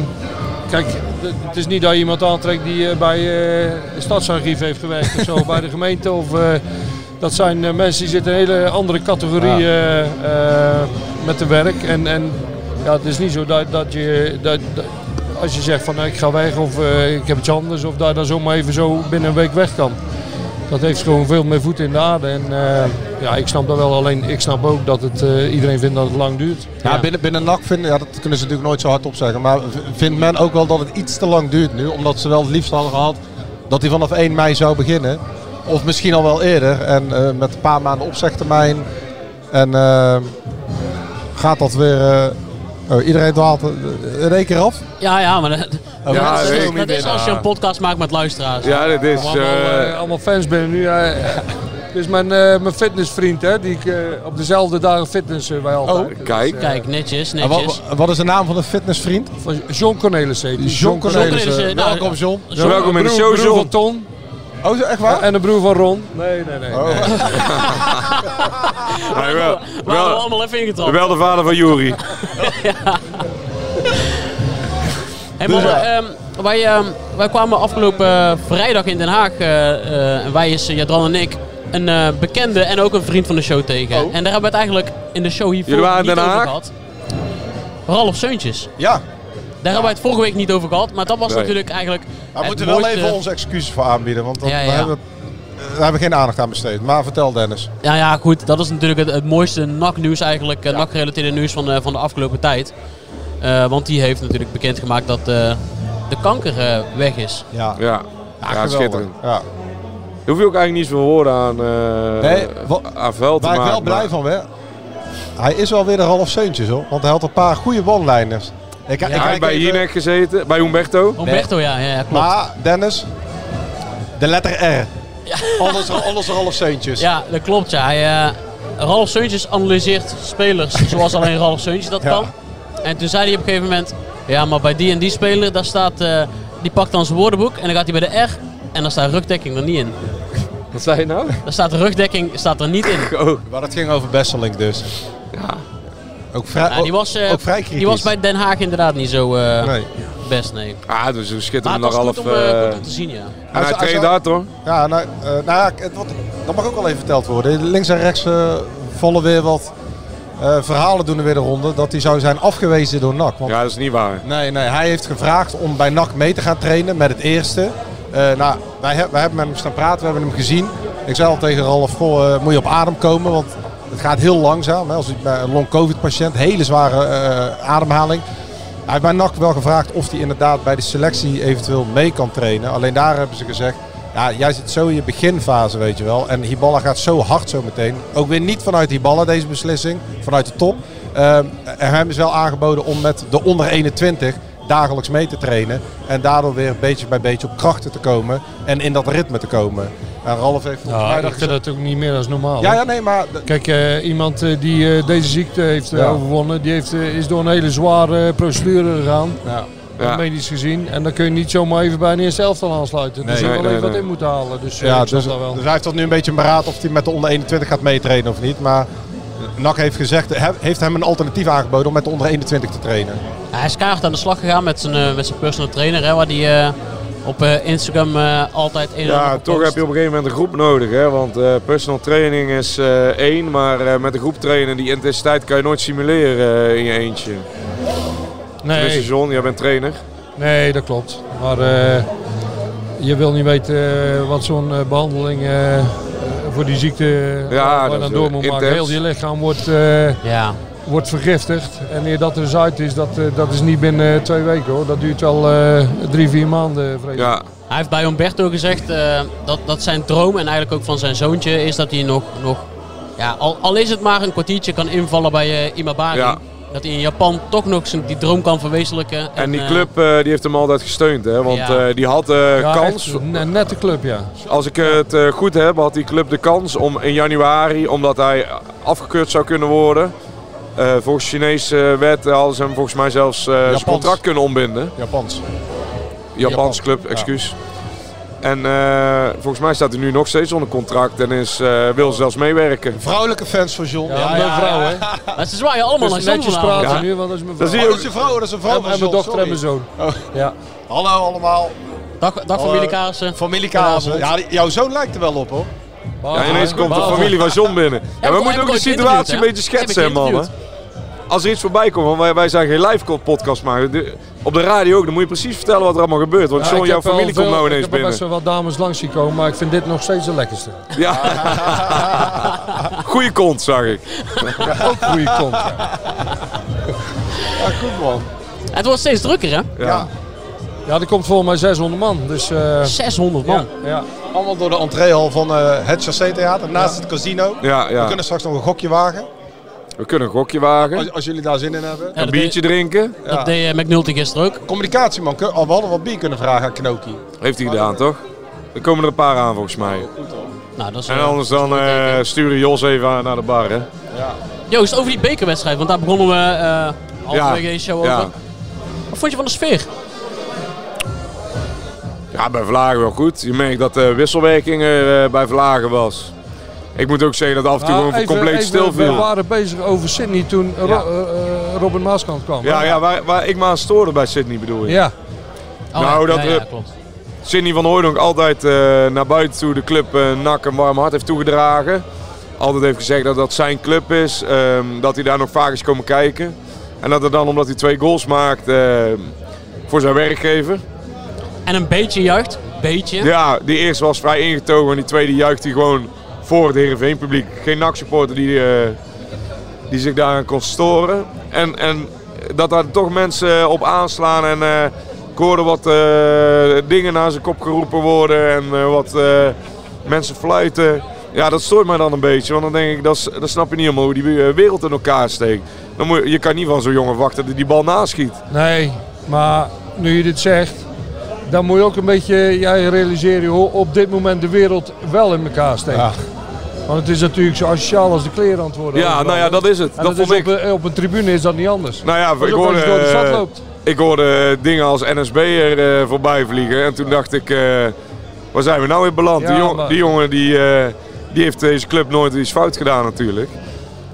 I: kijk, d- het is niet dat je iemand aantrekt die eh, bij eh het stadsarchief heeft gewerkt of zo, of bij de gemeente. Of, eh, dat zijn eh, mensen die zitten in een hele andere categorie
J: Ja.
I: eh, eh, met hun werk. En, en ja, het is niet zo dat, dat je. Dat, dat- als je zegt van eh, ik ga weg of eh, ik heb iets anders of daar dan zomaar even zo binnen een week weg kan. Dat heeft gewoon veel meer voet in de aarde. En eh, ja, ik snap dat wel. Alleen ik snap ook dat het, eh, iedereen vindt dat het lang duurt.
J: Ja, Binnen, binnen NAC vinden, ja, dat kunnen ze natuurlijk nooit zo hard opzeggen. Maar v- vindt men ook wel dat het iets te lang duurt nu. Omdat ze wel het liefst hadden gehad dat hij vanaf 1 mei zou beginnen. Of misschien al wel eerder. En eh, met een paar maanden opzegtermijn. En eh, gaat dat weer... eh, oh, iedereen dwaalt eh, in één keer af.
G: Ja, ja, maar dat,
J: Oh,
G: dat
J: ja,
G: is-
J: dat
G: dat
J: wil niet
G: is als je
J: binnen.
G: een podcast maakt met luisteraars.
H: Ja, dit is,
I: Allemaal, eh, allemaal fans binnen (laughs) nu. eh, dus mijn, eh, mijn fitnessvriend, hè, die ik eh, op dezelfde dagen fitness bij altijd.
H: Oh, Kijk.
G: Kijk, netjes,
J: En
G: netjes.
J: wat, wat is de naam van de fitnessvriend?
I: Van John Cornelissen. heet hij.
J: John Cornelissen.
G: Cornelissen, nou,
J: Welkom John.
G: John. Welkom
H: in de
I: broer-
H: show,
I: broer
H: John.
I: van Ton.
J: Oh, zo, echt waar?
I: En de broer van Ron. Nee, nee, nee. nee.
H: Maar wel,
G: We hadden
H: wel,
G: allemaal even ingetrapt.
H: wel de vader van Jury.
G: Hey, mannen, ehm, wij, ehm, wij kwamen afgelopen eh, vrijdag in Den Haag, eh, eh, en wij is eh, Jadran en ik, een eh, bekende en ook een vriend van de show tegen. En daar hebben we het eigenlijk in de show hiervoor
H: Oh. Jullie waren in
G: niet
H: Den
G: over
H: Haag?
G: gehad. Ralf Seuntjes.
J: Ja.
G: Daar hebben we het vorige week niet over gehad, maar dat was
H: Nee.
G: natuurlijk eigenlijk
J: Daar
G: het
J: moeten we wel
G: mooiste-
J: even onze excuses voor aanbieden. Want dat,
G: Ja, ja.
J: Daar, hebben, we- daar hebben we geen aandacht aan besteed. Maar vertel Dennis.
G: Ja, ja, goed. Dat is natuurlijk het, het mooiste NAC-nieuws eigenlijk. eh, NAC-gerelateerde nieuws van, eh, van de afgelopen tijd. Eh, want die heeft natuurlijk bekendgemaakt dat eh, de kanker eh, weg is.
J: Ja,
H: Ja. Ja,
J: geweldig.
H: schitterend.
J: Ja.
H: Daar hoef je ook eigenlijk niet zoveel woorden aan, eh
J: Nee, wa-
H: aan vuil te
J: Waar
H: maken.
J: ik wel blij
H: maar-
J: van ben, hij is wel weer een half zeuntjes hoor. Want hij had een paar goede one-liners. Ik, ik
H: Hij
J: kijk
H: heeft bij
J: even-
H: Jinek gezeten, bij Humberto.
G: Humberto, ja, ja, ja, klopt.
J: Maar Dennis, de letter R. Alles, alles half zeuntjes.
G: Ja, dat klopt, ja. Hij, eh, Ralf Seuntjes analyseert spelers
J: (laughs)
G: zoals alleen Ralf Seuntjes dat
J: Ja.
G: kan. En toen zei hij op een gegeven moment... Ja, maar bij die en die speler, daar staat... eh, die pakt dan zijn woordenboek en dan gaat hij bij de R... En dan staat rugdekking er niet in.
H: Wat zei je nou?
G: Daar staat rugdekking staat er niet in.
H: Oh,
J: Maar dat ging over Besselink dus.
H: ja.
J: Ook vrij,
G: Ja, die, was, eh,
J: ook vrij kritisch.
G: die was bij Den Haag inderdaad niet zo eh,
J: Nee.
G: best, nee.
H: Ah, dus een
G: Maar
H: schitterende
G: het was
H: half.
G: goed
H: eh
G: om, eh, goed om te zien, ja.
H: en hij
J: Als- als-
H: traint hard hoor.
J: Ja, nou, eh, nou ja, het wordt- dat mag ook wel even verteld worden. Links en rechts eh, vallen weer wat eh, verhalen doen er weer de ronde. Dat hij zou zijn afgewezen door NAC. Want
H: Ja, dat is niet waar.
J: Nee, nee, hij heeft gevraagd om bij NAC mee te gaan trainen met het eerste. Eh, nou, wij, he- wij hebben met hem staan praten, we hebben hem gezien. Ik zei al tegen Ralf, goh, eh, moet je op adem komen, want het gaat heel langzaam. Hè, als hij bij een long-covid-patiënt, hele zware eh, ademhaling. Hij heeft bij NAC wel gevraagd of hij inderdaad bij de selectie eventueel mee kan trainen. Alleen daar hebben ze gezegd, ja, jij zit zo in je beginfase, weet je wel. En Hiballa gaat zo hard zo meteen. Ook weer niet vanuit Hiballa deze beslissing, vanuit de top. Ehm, en hem is wel aangeboden om met de onder 21 dagelijks mee te trainen. En daardoor weer beetje bij beetje op krachten te komen en in dat ritme te komen. En Ralf heeft volgens
I: Ja,
J: mij
I: ik
J: dat
I: vind dat ook niet meer als normaal.
J: Ja,
I: hoor.
J: ja, nee, maar...
I: Kijk, eh, iemand eh, die eh, deze ziekte heeft eh,
J: Ja.
I: overwonnen, die heeft, eh, is door een hele zware eh, procedure gegaan.
J: Ja.
I: Ja. Medisch gezien. En dan kun je niet zomaar even bij een eerste elftal aansluiten.
J: Nee,
I: dus je
J: nee,
I: wel
J: nee,
I: even wat
J: nee.
I: in moeten halen. Dus eh,
J: ja,
I: ik snap
J: dus,
I: dat wel.
J: dus hij heeft dat nu een beetje beraad of hij met de onder 21 gaat meetrainen of niet. Maar NAC heeft gezegd, he- heeft hem een alternatief aangeboden om met de onder 21 te trainen.
G: Hij is kaart aan de slag gegaan met zijn, eh, met zijn personal trainer, hè, waar die eh, op eh, Instagram eh, altijd een en ander
H: Ja,
G: op
H: toch
G: post.
H: heb je op een gegeven moment een groep nodig. Hè? Want eh, personal training is eh, één, maar eh, met een groep trainen, die intensiteit kan je nooit simuleren eh, in je eentje. Tenminste, John, jij bent trainer.
I: Nee, dat klopt. Maar eh, je wil niet weten eh, wat zo'n eh, behandeling eh, voor die ziekte eh,
H: Ja,
I: waar
H: dat
I: dan
H: is,
I: door
H: eh,
I: moet maken.
H: intens.
I: Heel je lichaam wordt, eh,
G: Ja.
I: wordt vergiftigd. En eer dat er eens uit is, dat, eh, dat is niet binnen eh, twee weken hoor. Dat duurt wel eh, drie, vier maanden, vrees ik.
G: Hij heeft bij Umberto gezegd eh, dat, dat zijn droom en eigenlijk ook van zijn zoontje is dat hij nog, nog ja, al, al is het maar een kwartiertje kan invallen bij eh, Imabari.
H: Ja.
G: Dat hij in Japan toch nog zijn, die droom kan verwezenlijken. En,
H: En die
G: eh,
H: club eh, die heeft hem altijd gesteund. Hè? Want
G: Ja.
H: eh, die had eh,
I: Ja,
H: kans.
I: echt een- een nette club, ja.
H: Als ik het eh, goed heb, had die club de kans om in januari, omdat hij afgekeurd zou kunnen worden. eh, volgens Chinese wet hadden ze hem volgens mij zelfs eh, zijn contract kunnen ombinden.
J: Japans.
H: Japans club, excuus. En eh, volgens mij staat hij nu nog steeds onder contract en is, eh, wil zelfs meewerken.
J: Vrouwelijke fans van John.
I: Ja, mijn vrouw, hè.
G: Dat is waar je allemaal
I: Dus
G: naar John
I: netjes
G: vanavond.
I: praten
G: Ja.
I: nu, want dat is mijn
G: Dat
I: vrouw.
G: zie je
J: Oh, dat is een vrouw, dat is een vrouw
I: En-
J: van
I: en mijn
J: John,
I: dochter en mijn zoon.
J: sorry.
I: Ja.
J: Hallo allemaal.
G: Dag, dag
J: Hallo.
G: familie Kaassen.
J: Familie Kaas. Ja, die- jouw zoon lijkt er wel op hoor.
H: Ja, ineens komt de familie van John binnen. Ja,
G: heb
H: we
G: ik
H: moeten ook de
G: ooit
H: situatie een
G: geïnterviewd,
H: beetje
G: hè? Heb ik
H: schetsen, hè, mannen. Als er iets voorbij komt, want wij, wij zijn geen live podcast maken. De- op de radio ook, dan moet je precies vertellen wat er allemaal gebeurt. Want
I: Ja,
H: John,
I: ik
H: jouw
I: heb wel
H: familie komt
I: veel-
H: nou ineens
I: Ik heb er
H: binnen.
I: best wel wat dames langs zien komen, maar ik vind dit nog steeds de lekkerste.
H: Ja.
I: (laughs)
H: Goeie kont, zag ik.
I: Ook goede kont.
J: Ja, goed man.
G: Het wordt steeds drukker, hè?
H: Ja.
I: Ja, er komt volgens mij 600 man. Dus, eh,
G: 600 man.
I: Ja, ja.
J: Allemaal door de entreehal van eh, het Chassé Theater, naast het casino.
H: Ja, ja.
J: We kunnen straks nog een gokje wagen,
H: We kunnen een gokje wagen,
J: als, als jullie daar zin in hebben.
G: Ja,
H: een
G: dat
H: biertje drinken.
G: deed- Dat deed eh, McNulty gisteren ook.
J: Communicatieman, kun- oh, we hadden wat bier kunnen vragen aan Knoki.
H: Heeft hij gedaan, toch? Er komen er een paar aan, volgens mij.
G: Nou, dat is,
H: En
G: eh,
H: anders dan eh, sturen Jos even aan naar de bar, hè?
G: Joost, over die bekerwedstrijd, want daar begonnen we eh halverwege deze show
H: ja.
G: over. Wat vond je van de sfeer?
H: Ja, bij Vlagen wel goed. Je merkt dat de wisselwerking er eh, bij Vlagen was. Ik moet ook zeggen dat af en toe
I: Nou,
H: gewoon
I: even-
H: compleet
I: even,
H: stil viel.
I: We waren bezig over Sydney toen Ro-
H: Ja.
I: eh, eh, Robin Maaskant kwam.
H: Ja,
I: hè?
H: ja waar, waar ik me aan stoorde bij Sydney bedoel je.
I: Ja.
H: Nou, dat,
G: Oh, ja,
H: eh,
G: ja, klopt.
H: Sidney van Hooydonk altijd eh, naar buiten toe de club eh nak en warm hart heeft toegedragen. Altijd heeft gezegd dat dat zijn club is, ehm, dat hij daar nog vaak is komen kijken. En dat het dan, omdat hij twee goals maakt, ehm, voor zijn werkgever.
G: En een beetje juicht. Beetje.
H: Ja, die eerste was vrij ingetogen en die tweede juicht hij gewoon voor het Heerenveen publiek. Geen NAC-supporter die, eh, die zich daaraan kon storen. En, en dat daar toch mensen op aanslaan en eh ik hoorde wat eh, dingen naar zijn kop geroepen worden en eh, wat eh, mensen fluiten. Ja, dat stoort mij dan een beetje, want dan denk ik, dat, is- dat snap je niet helemaal hoe die eh, wereld in elkaar steekt. Dan moet, je- je kan niet van zo'n jongen wachten dat hij die bal naschiet.
I: Nee, maar nu je dit zegt, dan moet je ook een beetje jij realiseren hoe op dit moment de wereld wel in elkaar steekt. Want het is natuurlijk zo asociaal als de kleren aan het worden.
H: Ja,
I: overal.
H: nou ja, dat is het.
I: En is
H: Dat vond ik.
I: Op, eh, een- op een tribune is dat niet anders.
H: Nou ja,
I: Dat is
H: ik
I: ook als
H: hoorde,
I: je door de stad
H: eh,
I: loopt.
H: ik hoorde eh, dingen als NSB'er eh, voorbij vliegen. En toen dacht ik, eh, waar zijn we nou weer beland? die,
I: Ja,
H: jong-
I: maar-
H: die jongen die, eh, die heeft deze club nooit iets fout gedaan natuurlijk.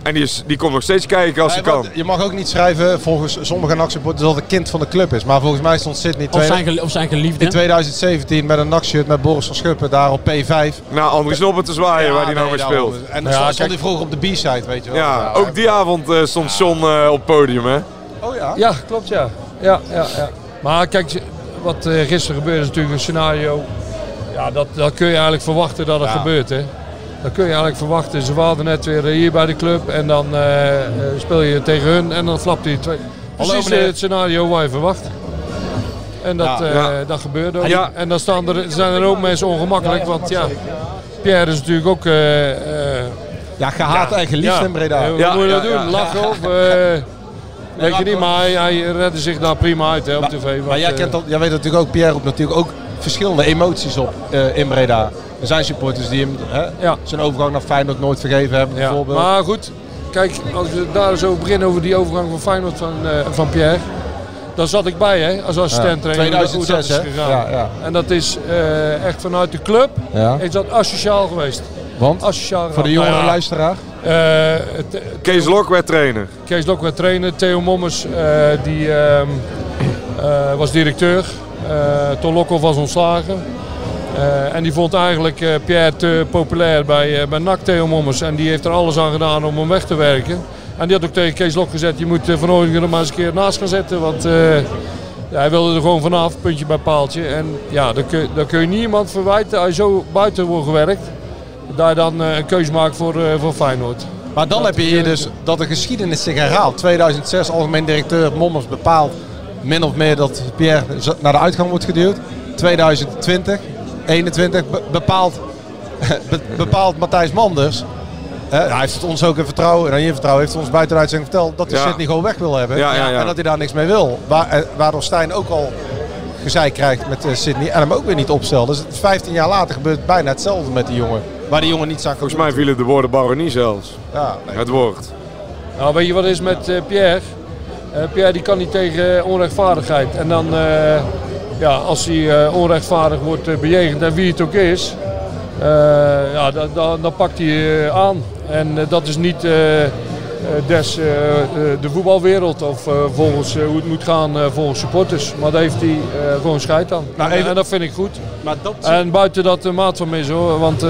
H: En die, is, die komt nog steeds kijken als hij
J: Nee,
H: kan.
J: want Je mag ook niet schrijven, volgens sommige NAC-supporters, dat het een kind van de club is. Maar volgens mij stond Sidney
G: Of zijn, gel- of zijn
J: in
G: geliefde.
J: 2017 met een NAC-shirt met Boris van Schuppen daar op P5.
H: Nou, Andries Noppen te zwaaien waar hij nou mee speelt.
J: En dan
I: Ja,
J: stond
I: kijk.
J: hij vroeger op de B-side, weet je wel.
H: Ja,
J: Nou,
H: ook die avond eh, stond John eh, op het podium hè.
J: Oh ja?
I: Ja, klopt ja. ja, ja, ja. Maar kijk, wat eh, gisteren gebeurde is natuurlijk een scenario. Ja, dat, dat kun je eigenlijk verwachten dat het gebeurt. Hè? Dat kun je eigenlijk verwachten. Ze waren net weer eh, hier bij de club en dan eh, eh, speel je tegen hun en dan flapt hij twee. Precies eh,
J: meneer.
I: het scenario waar je verwacht. En dat, eh,
H: Ja.
I: dat gebeurde ook.
H: Ja.
I: En dan staan er, zijn er ook mensen ongemakkelijk, want ja, Pierre is natuurlijk ook... eh, eh,
J: Ja, gehaat en geliefd in Breda.
I: eh, Wat
H: Ja,
I: moet je
H: ja,
I: dat doen?
H: ja. (laughs)
I: Lachen of... eh, Weet je niet, maar hij, hij redde zich daar prima uit hè, op tv. want,
J: Maar jij,
I: eh,
J: kent dat, jij weet natuurlijk ook, Pierre roept natuurlijk ook verschillende emoties op eh, in Breda. Er zijn supporters die hem hè, zijn overgang naar Feyenoord nooit vergeven hebben
I: Ja,
J: bijvoorbeeld.
I: Maar goed, kijk, als we daar eens over beginnen over die overgang van Feyenoord van, eh, van Pierre. Daar zat ik bij hè, als assistent trainer.
J: 2006, hè? Ja, ja.
I: En dat is eh, echt vanuit de club
J: Ja.
I: is dat asociaal geweest.
J: Want?
I: Asociaal
J: Voor de
I: gedrag.
J: jongere
I: Oh, Nou ja,
J: luisteraar?
I: eh, het-
H: Kees Lok werd trainer.
I: Kees Lok werd trainer. Theo Mommers eh, die, ehm, eh, was directeur. Eh Ton Lokhoff was ontslagen. Eh, en die vond eigenlijk eh, Pierre te populair bij, eh, bij NAC Theo Mommers. En die heeft er alles aan gedaan om hem weg te werken. En die had ook tegen Kees Lok gezet, je moet eh, Van Hooydonk er maar eens een keer naast gaan zetten. Want eh, hij wilde er gewoon vanaf, puntje bij paaltje. En ja, daar kun, daar kun je niemand verwijten als je zo buiten wordt gewerkt. Daar dan eh, een keuze maakt voor, eh, voor Feyenoord.
J: Maar dan heb je hier dus dat de geschiedenis zich herhaalt. 2006 algemeen directeur Mommers bepaalt min of meer dat Pierre z- naar de uitgang wordt geduwd. 2020, 21 be- bepaalt, (laughs) be- bepaalt Matthijs Manders. hè, hij heeft het ons ook in vertrouwen, en in vertrouwen heeft het ons buiten de uitzending verteld dat hij
H: Ja.
J: Sidney gewoon weg wil hebben.
H: Ja, ja, ja.
J: En dat hij daar niks mee wil. Wa- eh, waardoor Stijn ook al gezeik krijgt met eh, Sidney en hem ook weer niet opstelt. Dus 15 jaar later gebeurt bijna hetzelfde met die jongen. Waar die jongen niet aan
H: Volgens mij vielen de woorden baronie zelfs.
J: Ja,
H: Het woord.
I: Nou, weet je wat is met eh, Pierre? Eh, Pierre die kan niet tegen eh, onrechtvaardigheid. En dan, eh, ja, als hij eh, onrechtvaardig wordt eh, bejegend en wie het ook is, eh, ja, dan, dan, dan pakt hij eh, aan. En eh, dat is niet eh, eh, des eh, eh, de voetbalwereld of eh, volgens eh, hoe het moet gaan eh, volgens supporters. Maar daar heeft hij eh, gewoon scheid aan. En- en dat vind ik goed.
J: Maar dat...
I: En buiten dat de maat van mis hoor, want eh,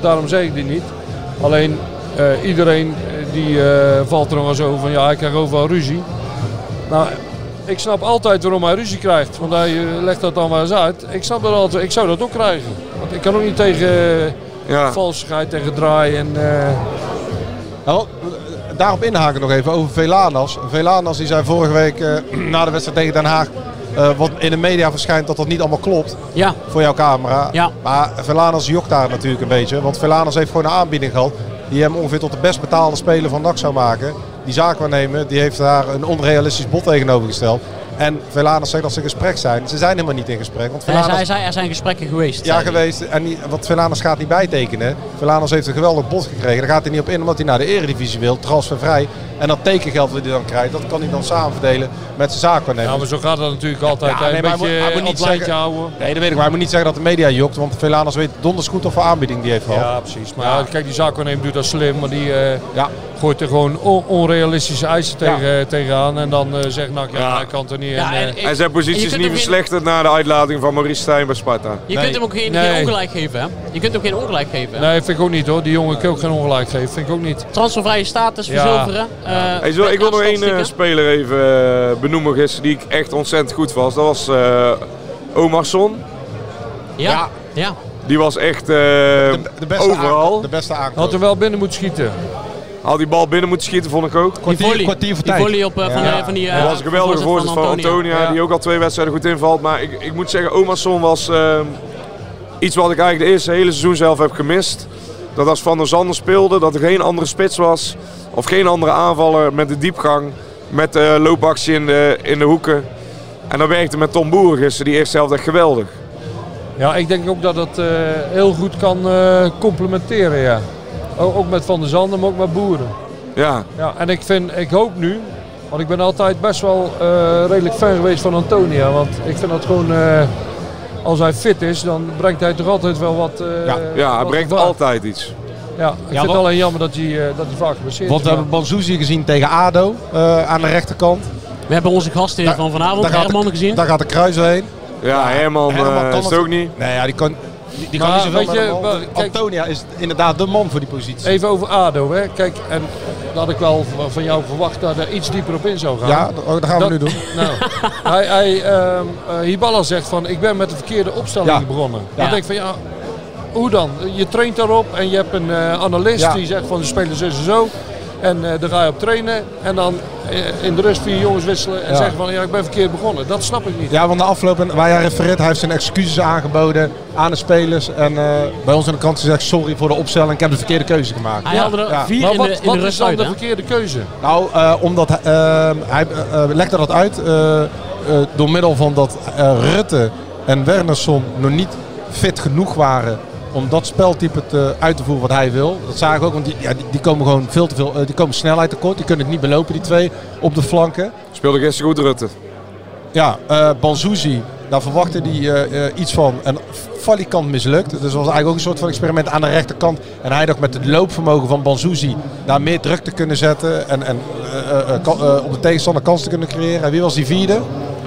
I: daarom zeg ik dit niet. Alleen eh, iedereen eh, die eh, valt er nog wel zo van ja, ik krijg overal ruzie. Nou, ik snap altijd waarom hij ruzie krijgt, want hij eh, legt dat dan wel eens uit. Ik snap dat altijd, ik zou dat ook krijgen. Want ik kan ook niet tegen eh,
H: Ja.
I: valsigheid, tegen draai en... eh,
J: Nou, daarop inhaken nog even over Velanas. Velanas die zei vorige week eh, (clears throat) na de wedstrijd tegen Den Haag. eh, wat in de media verschijnt dat dat niet allemaal klopt.
G: Ja.
J: Voor jouw camera.
G: Ja.
J: Maar Velanas jokt daar natuurlijk een beetje. Want Velanas heeft gewoon een aanbieding gehad. Die hem ongeveer tot de best betaalde speler van NAC zou maken. Die zaakwaarnemer die heeft daar een onrealistisch bod tegenover gesteld. En Velanas zegt dat ze in gesprek zijn. Ze zijn helemaal niet in gesprek. Want
G: Hij
J: Velanas...
G: zei, hij zei, er zijn gesprekken geweest.
J: Ja,
G: zei hij.
J: geweest. En die, wat Velanus gaat niet bijtekenen. Velanus heeft een geweldig bod gekregen. Daar gaat hij niet op in omdat hij naar de eredivisie wil. Transfervrij. En dat tekengeld dat hij dan krijgt, dat kan hij dan samenverdelen met zijn zaakwaarnemer.
I: Ja, maar zo gaat dat natuurlijk altijd.
J: Ja,
I: hè.
J: nee,
I: een
J: maar hij
I: beetje eh,
J: moet- hij moet
I: op
J: niet
I: lijntje
J: zeggen-
I: houden.
J: Nee, dat weet ik. Maar hij moet niet zeggen dat de media jokt. Want Velanus weet donders goed of voor aanbieding die heeft gehad.
I: Ja, precies. Maar ja, kijk, die zaakwaarnemer doet dat slim, maar die eh, gooit er gewoon on- onrealistische eisen tegen, tegenaan. En dan eh, zegt NAC, ja, hij kan er niet
G: Ja,
I: in, eh.
G: en ik-
H: En zijn
G: en je
H: positie is
G: kunt hem
H: niet
G: geen-
H: verslechterd na de uitlating van Maurice Stijn bij Sparta.
G: Je kunt hem ook geen, geen
I: Nee.
G: ongelijk geven, hè? Je kunt hem geen ongelijk geven. hè?
I: Nee, vind ik ook niet hoor. Die jongen kan ook geen ongelijk geven. Vind ik ook niet.
G: Transfervrije status,
I: Ja.
G: verzilveren. eh,
H: Hey, zo, ik wil nog één eh,
G: statistieken.
H: speler even eh, benoemen gisteren die ik echt ontzettend goed was. Dat was eh Omarsson.
G: Ja, ja.
H: Die was echt eh,
J: De beste
H: overal.
J: aan- De beste aankoop.
I: Had er wel binnen moeten schieten.
H: Had die bal binnen moeten schieten, vond ik ook.
G: Die volley,
J: kwartier voor
G: die
J: tijd.
G: volley op, eh, van,
J: Ja.
G: eh, van die... eh,
H: Dat was een geweldige voorzet van Antonia,
I: Ja.
H: die ook al twee wedstrijden goed invalt. Maar ik, ik moet zeggen, Omarsson was eh, iets wat ik eigenlijk de eerste hele seizoen zelf heb gemist. Dat als Van der Zander speelde, dat er geen andere spits was. Of geen andere aanvaller met de diepgang. Met eh loopactie in de, in de hoeken. En dat werkte met Tom Boeren gisteren, die eerste helft echt geweldig.
I: Ja, ik denk ook dat dat eh, heel goed kan eh, complementeren. Ja. O- ook met Van der Zanden, maar ook met Boeren.
H: Ja,
I: Ja, en ik, vind, ik hoop nu, want ik ben altijd best wel eh, redelijk fan geweest van Antonia. Want ik vind dat gewoon, eh, als hij fit is, dan brengt hij toch altijd wel wat. eh,
H: ja hij
I: wat
H: brengt
I: gevaar.
H: altijd iets.
I: Ja, ik vind
J: wat-
I: het alleen jammer dat hij, eh, dat hij vaak geblesseerd
J: Want we
I: is.
J: hebben Banzuzi gezien tegen ADO. eh, aan de rechterkant.
G: We hebben onze gastheer van vanavond,
J: daar gaat
G: Herman, gezien.
J: Daar gaat de kruis heen.
H: Ja, Herman,
J: Herman
H: eh,
J: kan
H: is
J: het-
H: het ook niet.
J: Nee, ja, die kan... Die, die
I: Maar
J: kan niet zoveel
I: weet
J: met
I: je,
J: de bal.
I: wa- kijk-
J: Antonia is inderdaad de man voor die positie.
I: Even over ADO, hè. Kijk, en dat had ik wel v- van jou verwacht dat er iets dieper op in zou gaan.
J: Ja, dat oh, dat gaan we
I: Dat-
J: nu doen. (laughs)
I: Nou, hij, hij, ehm, eh, Hiballa zegt van, ik ben met de verkeerde opstelling
J: Ja.
I: begonnen.
J: Ja.
I: Dan denk ik van, ja, hoe dan? Je traint daarop en je hebt een eh, analist
J: Ja.
I: die zegt van, de spelers is en zo. En eh, daar ga je op trainen. En dan eh, in de rust vier jongens wisselen en
J: Ja.
I: zeggen van, ja, ik ben verkeerd begonnen. Dat snap ik niet.
J: Ja, want de afloop, en waar jij refereert, hij heeft zijn excuses aangeboden aan de spelers. En eh, bij ons aan de kant zegt sorry voor de opstelling, ik heb de verkeerde keuze gemaakt.
G: Hij
I: Ja.
G: had er
J: Ja.
G: vier
I: Maar
G: in
I: wat,
G: de, in
I: wat
G: de
I: is
G: rust
I: dan
G: uit,
I: de
G: hè?
I: verkeerde keuze?
J: Nou, eh, omdat hij, eh, hij eh, eh, legde dat uit eh, eh, door middel van dat eh, Rutte en Wernersson nog niet fit genoeg waren om dat speltype te, uit te voeren wat hij wil. Dat zagen we ook, want die, ja, die, die komen gewoon veel te veel, eh, die komen snelheid tekort. Die kunnen het niet belopen, die twee, op de flanken.
H: Speelde gisteren goed, Rutte.
J: Ja, eh Banzuzi, daar verwachtte hij eh, eh, iets van. En valikant mislukt. Dus dat was eigenlijk ook een soort van experiment aan de rechterkant. En hij dacht met het loopvermogen van Banzuzi daar meer druk te kunnen zetten. En, en eh, eh, eh, kan- eh, op de tegenstander kans te kunnen creëren. En wie was die vierde?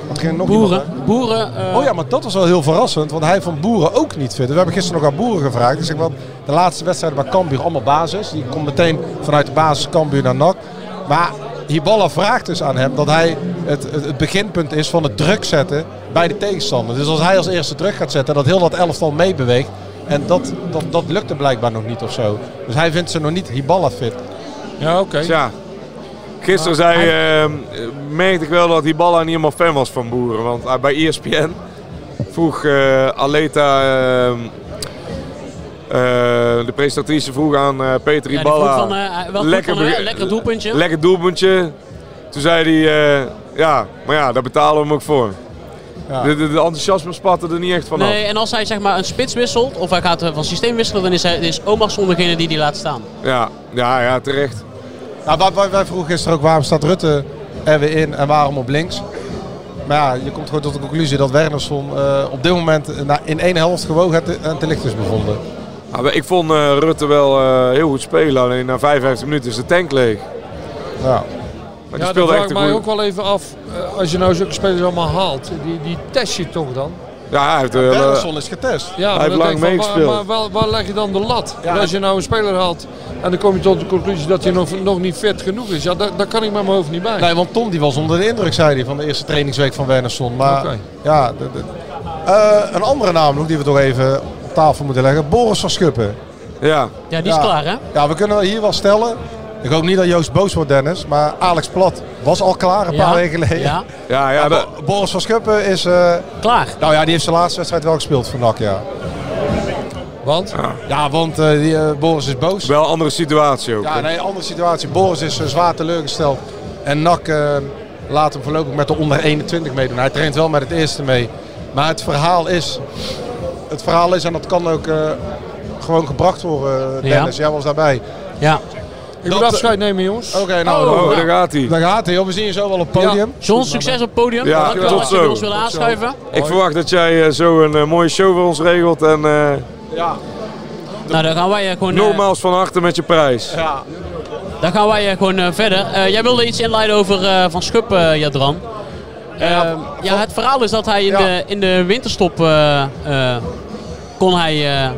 J: Want er ging nog
G: Boeren. eh,
J: iemand, hè?
G: Boeren.
J: Oh ja, maar dat was wel heel verrassend, want hij vond Boeren ook niet fit. We hebben gisteren nog aan Boeren gevraagd. Dus Ik zeg wel, de laatste wedstrijden bij Cambuur allemaal basis. Die komt meteen vanuit de basis Cambuur naar NAC. Maar Hiballa vraagt dus aan hem dat hij het, het, het beginpunt is van het druk zetten bij de tegenstander. Dus als hij als eerste druk gaat zetten, dat heel dat elftal meebeweegt. En dat, dat, dat lukte blijkbaar nog niet of zo. Dus hij vindt ze nog niet Hiballa fit.
I: Ja, oké.
H: Ja. Gisteren
J: Maar
H: zei, ehm, merkte ik wel dat die Balla niet helemaal fan was van Boeren. Want hij- bij E ESPN vroeg eh, Aleta, ehm, eh, de presentatrice vroeg aan eh, Peter
G: Ja, die
H: Iballa.
G: vroeg van, eh, welk doel van, eh,
H: be-
G: lekker doelpuntje.
H: Lekker doelpuntje. Toen zei hij, eh, ja, maar ja, daar betalen we hem ook voor. De, de, de enthousiasme spatte er niet echt vanaf.
G: Nee, en als hij zeg maar een spits wisselt of hij gaat eh, van systeem wisselen, dan is, hij, is Omarsson degene die die laat staan.
H: Ja, ja, ja, terecht.
J: Nou, wij, wij, wij vroegen gisteren ook waarom staat Rutte er weer in en waarom op links. Maar ja, je komt gewoon tot de conclusie dat Wernersson eh, op dit moment eh, na- in één helft gewogen en te- en te licht is bevonden.
H: Ja, maar ik vond eh, Rutte wel eh, heel goed spelen, alleen na 55 minuten is de tank leeg.
J: Ja.
H: Maar die
I: ja, dat
H: speelde
I: vraag
H: echt
I: ik
H: een
I: mij
H: goeie-
I: ook wel even af. eh, Als je nou zulke spelers allemaal haalt, die, die test je toch dan?
H: Ja, hij heeft... eh,
J: Wernersson is getest.
I: Ja, maar
H: heeft
I: dan denk
H: lang
I: ik van,
H: meegespeeld.
I: Maar, maar waar, waar leg je dan de lat? En als je nou een speler haalt en dan kom je tot de conclusie dat hij nog, nog niet fit genoeg is. Ja, daar, daar kan ik met mijn hoofd niet bij.
J: Nee, want Tom die was onder de indruk, zei hij, van de eerste trainingsweek van Wernersson. Maar
I: Oké.
J: ja, de- de- Eh, een andere naam nog die we toch even op tafel moeten leggen. Boris van Schuppen.
H: eh, Ja.
G: Ja, die is klaar hè?
J: Ja, we kunnen hier wel stellen. Ik hoop niet dat Joost boos wordt, Dennis. Maar Alex Plat was al klaar een
G: Ja.
J: paar weken geleden.
G: Ja.
H: Ja, ja, dat-
J: Boris van Schuppen is... eh,
G: Klaar.
J: nou ja, die heeft zijn laatste wedstrijd wel gespeeld voor NAC, ja.
I: Want?
J: Ja, want eh, die, eh, Boris is boos.
H: Wel een andere situatie ook.
J: Ja,
H: hè.
J: nee, andere situatie. Boris is eh, zwaar teleurgesteld. En NAC eh, laat hem voorlopig met de onder 21 meedoen. Hij traint wel met het eerste mee. Maar het verhaal is... Het verhaal is, en dat kan ook eh, gewoon gebracht worden, eh,
G: Ja.
J: Dennis. Jij was daarbij.
G: Ja.
I: Ik moet afscheid nemen, jongens.
J: Oké, nou,
H: Oh,
J: dan,
H: daar gaat hij.
J: dan gaat hij. joh. We zien je zo wel op het podium.
G: John, succes op het podium.
H: Ja,
G: Dankjewel
H: tot
G: dat je
H: zo.
G: bij ons willen aanschuiven.
H: Ik verwacht dat jij eh, zo een eh, mooie show voor ons regelt. En eh,
G: Nou, dan gaan wij eh, gewoon, eh,
H: nogmaals van harte met je prijs.
G: dan gaan wij eh, gewoon eh, verder. Eh, jij wilde iets inleiden over eh, Van Schuppen, eh, Jadran. Eh, ja, het verhaal is dat hij in,
J: Ja.
G: de, in de winterstop eh, eh, kon hij... eh,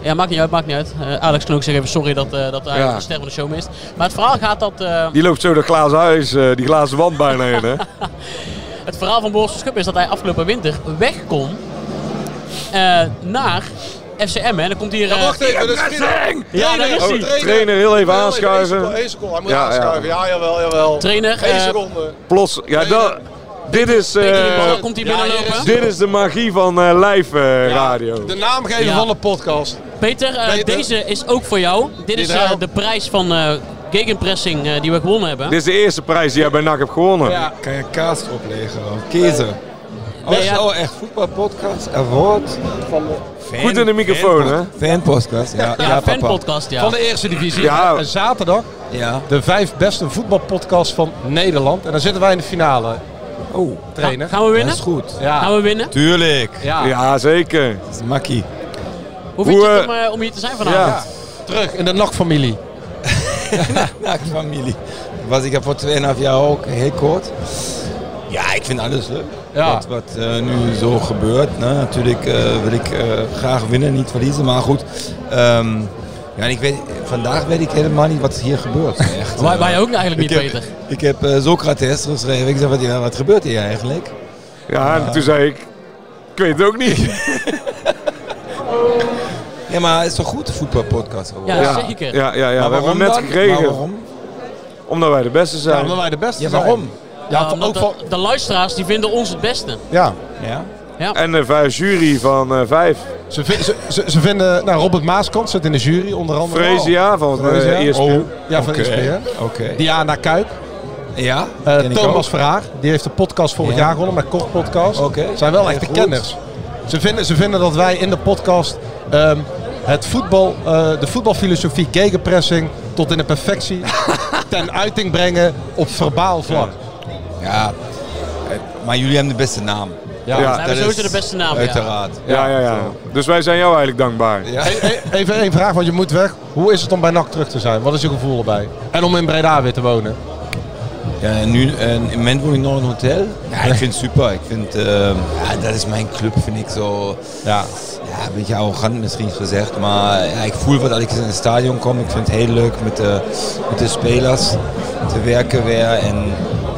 G: ja, maakt niet uit, maakt niet uit. Eh, Alex kan ook zeggen even sorry dat, eh, dat hij
H: Ja.
G: de ster van de show mist. Maar het verhaal gaat dat... eh,
H: Die loopt zo dat glazen huis, eh, die glazen wand bijna heen. Hè?
G: Het verhaal van Boris van Schuppen is dat hij afgelopen winter weg kon eh, naar FCM. En dan komt hier... eh, Ja, daar
H: Oh,
G: is hij.
H: trainer, heel even aanschuiven.
J: Eén seconde, hij moet
H: Ja, ja.
J: aanschuiven. Ja, jawel, jawel.
G: Trainer,
J: Eén
G: eh,
J: seconde.
H: Plots, ja, dat, dit, is, eh,
G: Peter die bal komt hier
J: ja,
G: binnenlopen.
J: hier
H: dit is de magie van eh live eh, radio.
J: De naam geven
G: Ja.
J: van de podcast.
G: Peter, eh,
J: Peter.
G: deze is ook voor jou. Dit is eh,
J: draait.
G: de prijs van eh gegenpressing eh, die we gewonnen hebben.
H: Dit is de eerste prijs die jij bij NAC hebt gewonnen.
L: Kan je kaas erop leggen dan?
I: Oh,
L: Kiezen. Als
G: Nee,
L: je
G: ja.
L: nou echt voetbalpodcast en woord van de fan,
H: Goed in de microfoon, hè?
L: fanpodcast. Ja,
G: ja,
L: ja, papa.
G: fanpodcast, ja.
J: Van de E eerste divisie.
H: Ja.
J: En zaterdag
L: Ja.
J: de vijf beste voetbalpodcasts van Nederland. En dan zitten wij in de finale.
L: Oh,
J: Trainer.
G: Gaan we
L: dat
G: winnen?
L: is goed.
J: Ja.
G: Gaan we winnen?
L: Tuurlijk.
J: Ja.
H: Ja, zeker.
L: Dat is makkie.
G: Hoe vind
H: Hoe,
G: je het om,
H: eh,
G: eh, om hier te zijn vanavond?
J: Terug in de nachtfamilie.
L: Nou, familie. Was ik ja voor 2,5 jaar ook heel kort. Ja, ik vind alles leuk.
J: Ja.
L: Wat, wat eh, nu zo gebeurt. Nou, natuurlijk eh, wil ik eh, graag winnen, niet verliezen. Maar goed. ehm, ja, en ik weet, vandaag weet ik helemaal niet wat hier gebeurt. Echt,
G: Wij,
L: eh,
G: wij ook eigenlijk niet,
L: ik heb,
G: Peter.
L: Ik heb eh, Socrates geschreven. Ik zei, wat, ja, wat gebeurt hier eigenlijk?
H: Ja, en toen zei ik, ik weet het ook niet.
L: Ja, maar het is toch goed, de voetbalpodcast geworden?
G: Ja,
H: Ja,
G: zeker.
H: ja, ja, ja.
L: Maar
H: we
L: waarom
H: hebben hem net
L: dan? Maar
H: gekregen.
L: waarom?
H: Omdat wij de beste
J: Ja,
H: zijn.
J: omdat wij de beste
L: Ja,
J: zijn.
L: waarom?
J: Ja,
G: Ja,
J: van-
G: omdat
J: ook van...
G: de, de luisteraars die vinden ons het beste.
J: Ja,
L: Ja.
H: En de vijf jury van eh, vijf.
J: ze, vi- ze, ze, ze vinden... Nou, Robert Maaskant zit in de jury, onder andere.
H: Freesia van eh,
J: Freesia.
G: Oh.
H: ESPN.
J: oh, Ja, van ESPN.
L: Oké.
J: Diana Kuip.
L: Ja,
J: Eh,
L: ken ik
J: Thomas
L: ook.
J: Verhaar. Die heeft de podcast vorig
L: Ja.
J: jaar gewonnen, met Kort Podcast.
L: Oké.
J: Zijn wel
L: Heel
J: echte
L: goed.
J: kenners. Ze vinden, ze vinden dat wij in de podcast... ehm, het voetbal, eh, de voetbalfilosofie gegenpressing tot in de
L: (laughs)
J: perfectie ten uiting brengen op verbaal vlak.
L: Ja, eh, maar jullie hebben de beste naam.
J: Ja.
G: Wij hebben sowieso de beste naam, ja.
L: Uiteraard.
H: Ja, ja, ja. Dus wij zijn jou eigenlijk dankbaar.
J: E- e- Even één vraag, want je moet weg. Hoe is het om bij NAC terug te zijn? Wat is je gevoel erbij? En om in Breda weer te wonen?
L: Ja, en nu, en in het moment woon ik nog in een hotel. Ja, ik vind het super. Ik vind, ehm, ja, dat is mijn club, vind ik zo.
J: Ja.
L: ja, een beetje arrogant misschien gezegd. Maar ja, ik voel wat als ik in het stadion kom. Ik vind het heel leuk met de, met de spelers te werken weer. En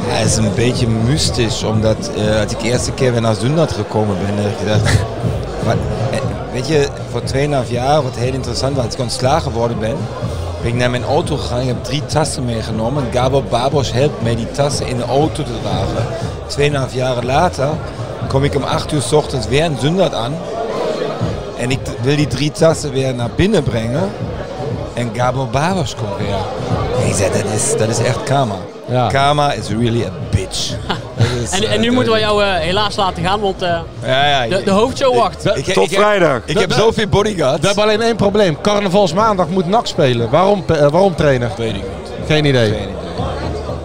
L: ja, het is een beetje mystisch, omdat eh, als ik de eerste keer weer naar Zundert gekomen ben, heb ik gedacht... (laughs) wat, eh, weet je, voor 2,5 jaar, wat heel interessant was, als ik ontslagen geworden ben... Ben ik naar mijn auto gegaan, ik heb drie tassen meegenomen. Gabor Babos helpt mij die tassen in de auto te dragen. Tweeënhalf jaar later kom ik om 8 uur s ochtends weer in Zundert aan. En ik wil die drie tassen weer naar binnen brengen. En Gabor Babos komt weer. En ik zei, dat is, dat is echt karma. Karma is really a
G: (laughs)
L: bitch. Dat is,
G: En,
L: eh,
G: en nu
L: dat-
G: moeten we jou eh, helaas laten gaan, want eh,
L: Ja, ja,
G: de,
L: ik-
G: de hoofdshow wacht.
L: Ik heb zoveel bodyguards.
J: We hebben alleen één probleem. Carnavalsmaandag moet NAC spelen. Waarom, eh, waarom trainer?
L: Weet ik niet.
J: Geen idee.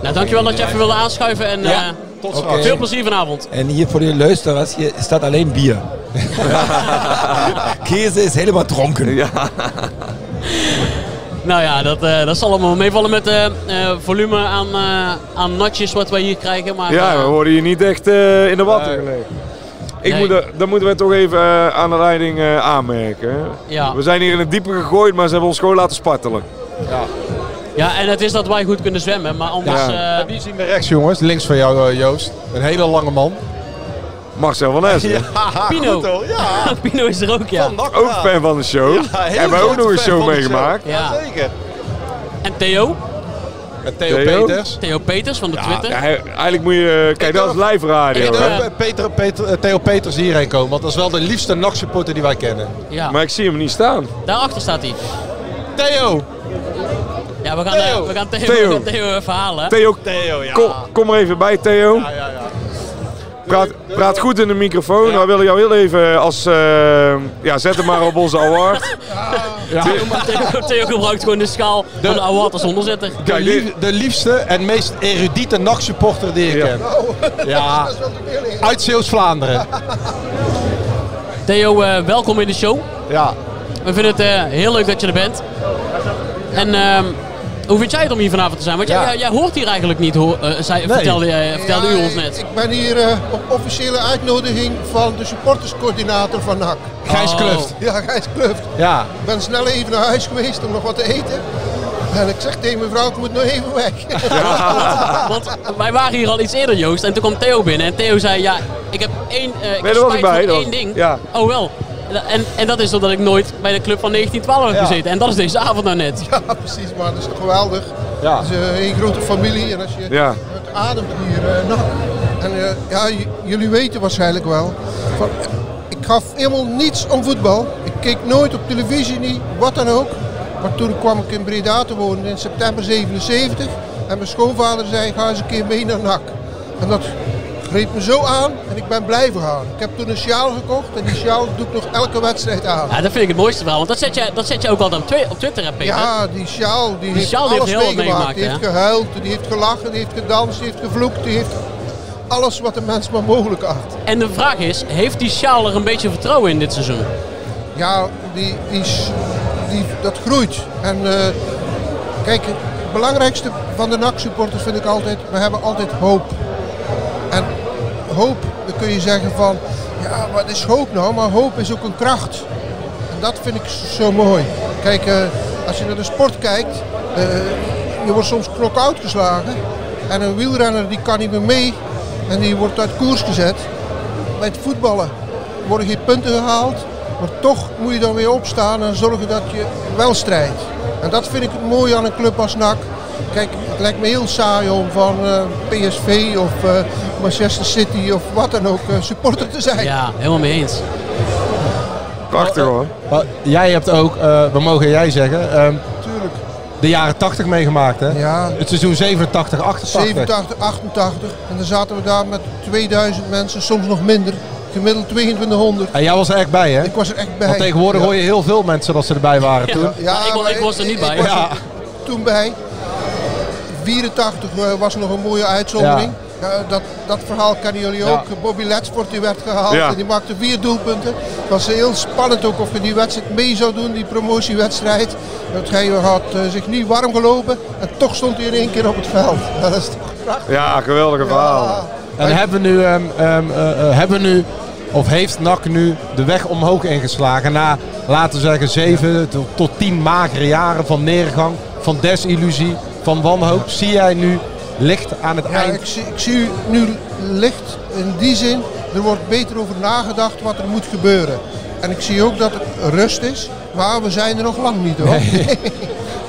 G: Nou, dankjewel dat je even wilde aanschuiven en eh,
L: tot straks.
G: veel plezier vanavond.
L: En hier voor de luisteraars, hier staat alleen bier. Käse is helemaal dronken.
G: Nou ja, dat, eh, dat zal allemaal meevallen met eh eh, volume aan, eh, aan natjes wat wij hier krijgen. Maar, eh,
H: Ja, we worden hier niet echt eh, in de watten gelegd. Ik
G: Nee.
H: moet, er- dat moeten we toch even eh, aan de leiding eh, aanmerken. hè.
G: Ja.
H: We zijn hier in het diepe gegooid, maar ze hebben ons gewoon laten spartelen.
G: ja, en het is dat wij goed kunnen zwemmen, maar anders...
J: Ja.
G: eh,
J: Zien we rechts jongens, links van jou eh, Joost. Een hele lange man.
H: Oh, Marcel
G: (laughs)
H: van Essen.
G: Pino. (laughs) Pino is er ook, ja.
H: Ook fan van de show.
G: Ja, heel
H: hebben we ook
G: grote
H: nog een
G: fan
H: show
G: van de show.
H: meegemaakt.
G: Ja.
J: Zeker.
G: En Theo?
J: Theo,
H: Theo?
J: Peters.
G: Theo Peters van de Twitter.
H: Ja, he- eigenlijk moet je... eh, Kijk, dat is live radio.
J: Ik
H: hè?
J: durf, eh, Peter, Peter, eh, Theo Peters hierheen komen, want dat is wel de liefste NAC-supporter die wij kennen.
G: Ja.
H: Maar ik zie hem niet staan.
G: Daarachter staat hij.
J: Theo!
G: Ja, we gaan
J: Theo.
G: eh, we gaan Theo,
H: Theo.
G: we gaan Theo even halen.
H: Theo,
G: ja.
H: Kom, kom er even bij, Theo. Praat, praat goed in de microfoon. We willen jou heel even als... eh, ja, zet hem maar op onze award.
G: Theo, Theo- (laughs) Theo gebruikt gewoon de schaal van de award als onderzetter.
J: De, lief- de liefste en meest erudite NAC-supporter die ik ken.
G: Oh. (laughs)
J: Ja, uit Zeeuws-Vlaanderen.
G: Theo, eh, welkom in de show.
J: Ja.
G: We vinden het eh, heel leuk dat je er bent. En ehm, hoe vind jij het om hier vanavond te zijn? Want jij,
I: Ja.
G: jij, jij hoort hier eigenlijk niet, hoor, eh, zei,
I: Nee.
G: vertelde, eh, vertelde u ons net.
I: Ik ben hier eh, op officiële uitnodiging van de supporterscoördinator van NAC.
G: Gijs Oh. Kluft.
I: Ja, Gijs Kluft.
J: Ja.
I: Ik ben snel even naar huis geweest om nog wat te eten. En ik zeg tegen mevrouw, ik moet nog even weg.
G: Ja. Want wij waren hier al iets eerder, Joost. En toen kwam Theo binnen. En Theo zei, ja, ik heb één, eh ik
H: Nee,
G: heb
H: daar was ik
G: spijt
H: bij.
G: van
H: dat
G: één
H: was-
G: ding.
H: Ja.
G: Oh wel. En, en dat is omdat ik nooit bij de club van 1912 heb gezeten. En dat is deze avond nou net.
I: Ja, precies, maar dat is toch geweldig.
J: Ja.
I: Het is eh, een grote familie en als je
H: Ja.
I: het ademt hier eh, NAC. En eh, ja, j- jullie weten waarschijnlijk wel. Van, ik gaf helemaal niets om voetbal. Ik keek nooit op televisie, niet, wat dan ook. Maar toen kwam ik in Breda te wonen in september 77. En mijn schoonvader zei, ga eens een keer mee naar NAC. En dat greep me zo aan en ik ben blijven gaan. Ik heb toen een sjaal gekocht en die sjaal doe ik nog elke wedstrijd aan.
G: Ja, dat vind ik het mooiste verhaal. Want dat zet je, dat zet je ook altijd op, twi- op Twitter, hè, Peter?
I: Ja, die sjaal, die,
G: Die
I: heeft
G: sjaal die heeft
I: alles
G: heel
I: meegemaakt.
G: wat meegemaakt,
I: die
G: hè?
I: heeft gehuild, die heeft gelachen, die heeft gedanst, die heeft gevloekt, die heeft alles wat de mens maar mogelijk had.
G: En de vraag is, heeft die sjaal er een beetje vertrouwen in dit seizoen?
I: Ja, die, die, is- die, dat groeit. En eh, kijk, het belangrijkste van de NAC-supporters vind ik altijd, we hebben altijd hoop. En hoop, dan kun je zeggen van, ja, wat is hoop nou? Maar hoop is ook een kracht. En dat vind ik zo mooi. Kijk, eh, als je naar de sport kijkt, eh, je wordt soms knock-out geslagen. En een wielrenner die kan niet meer mee en die wordt uit koers gezet. Bij het voetballen worden geen punten gehaald, maar toch moet je dan weer opstaan en zorgen dat je wel strijdt. En dat vind ik het mooie aan een club als NAC. Kijk, het lijkt me heel saai om van eh, PSV of eh, Manchester City of wat dan ook eh, supporter te zijn.
G: Ja, helemaal mee eens.
H: Prachtig hoor.
J: Maar jij hebt ook, eh, we mogen jij zeggen, ehm, de jaren 80 meegemaakt hè?
I: Ja.
J: Het seizoen 87, 88.
I: 87, 88. En dan zaten we daar met 2000 mensen, soms nog minder. Gemiddeld 2200.
J: En jij was er echt bij, hè? Ik
I: was er echt bij.
J: Want tegenwoordig
I: Ja.
J: hoor je heel veel mensen dat ze erbij waren toen.
I: Ja, maar ik was er niet bij.
J: Ja.
I: toen bij. 84 eh, was nog een mooie uitzondering. Ja, dat, dat verhaal kennen jullie
J: Ja.
I: ook. Bobby Letsport die werd gehaald
J: Ja.
I: en die maakte vier doelpunten. Het was heel spannend ook of je die wedstrijd mee zou doen, die promotiewedstrijd. Want hij had eh, zich niet warm gelopen en toch stond hij in één keer op het veld. (laughs) Dat is toch prachtig.
H: Ja, geweldige verhaal.
J: En hebben we nu, ehm, ehm, eh, eh, hebben we nu, of heeft NAC nu de weg omhoog ingeslagen na, laten we zeggen, zeven to- tot tien magere jaren van neergang, van desillusie, van wanhoop? Zie jij nu licht aan het eind?
I: Ik zie, ik zie nu licht in die zin, er wordt beter over nagedacht wat er moet gebeuren. En ik zie ook dat er rust is, maar we zijn er nog lang niet hoor.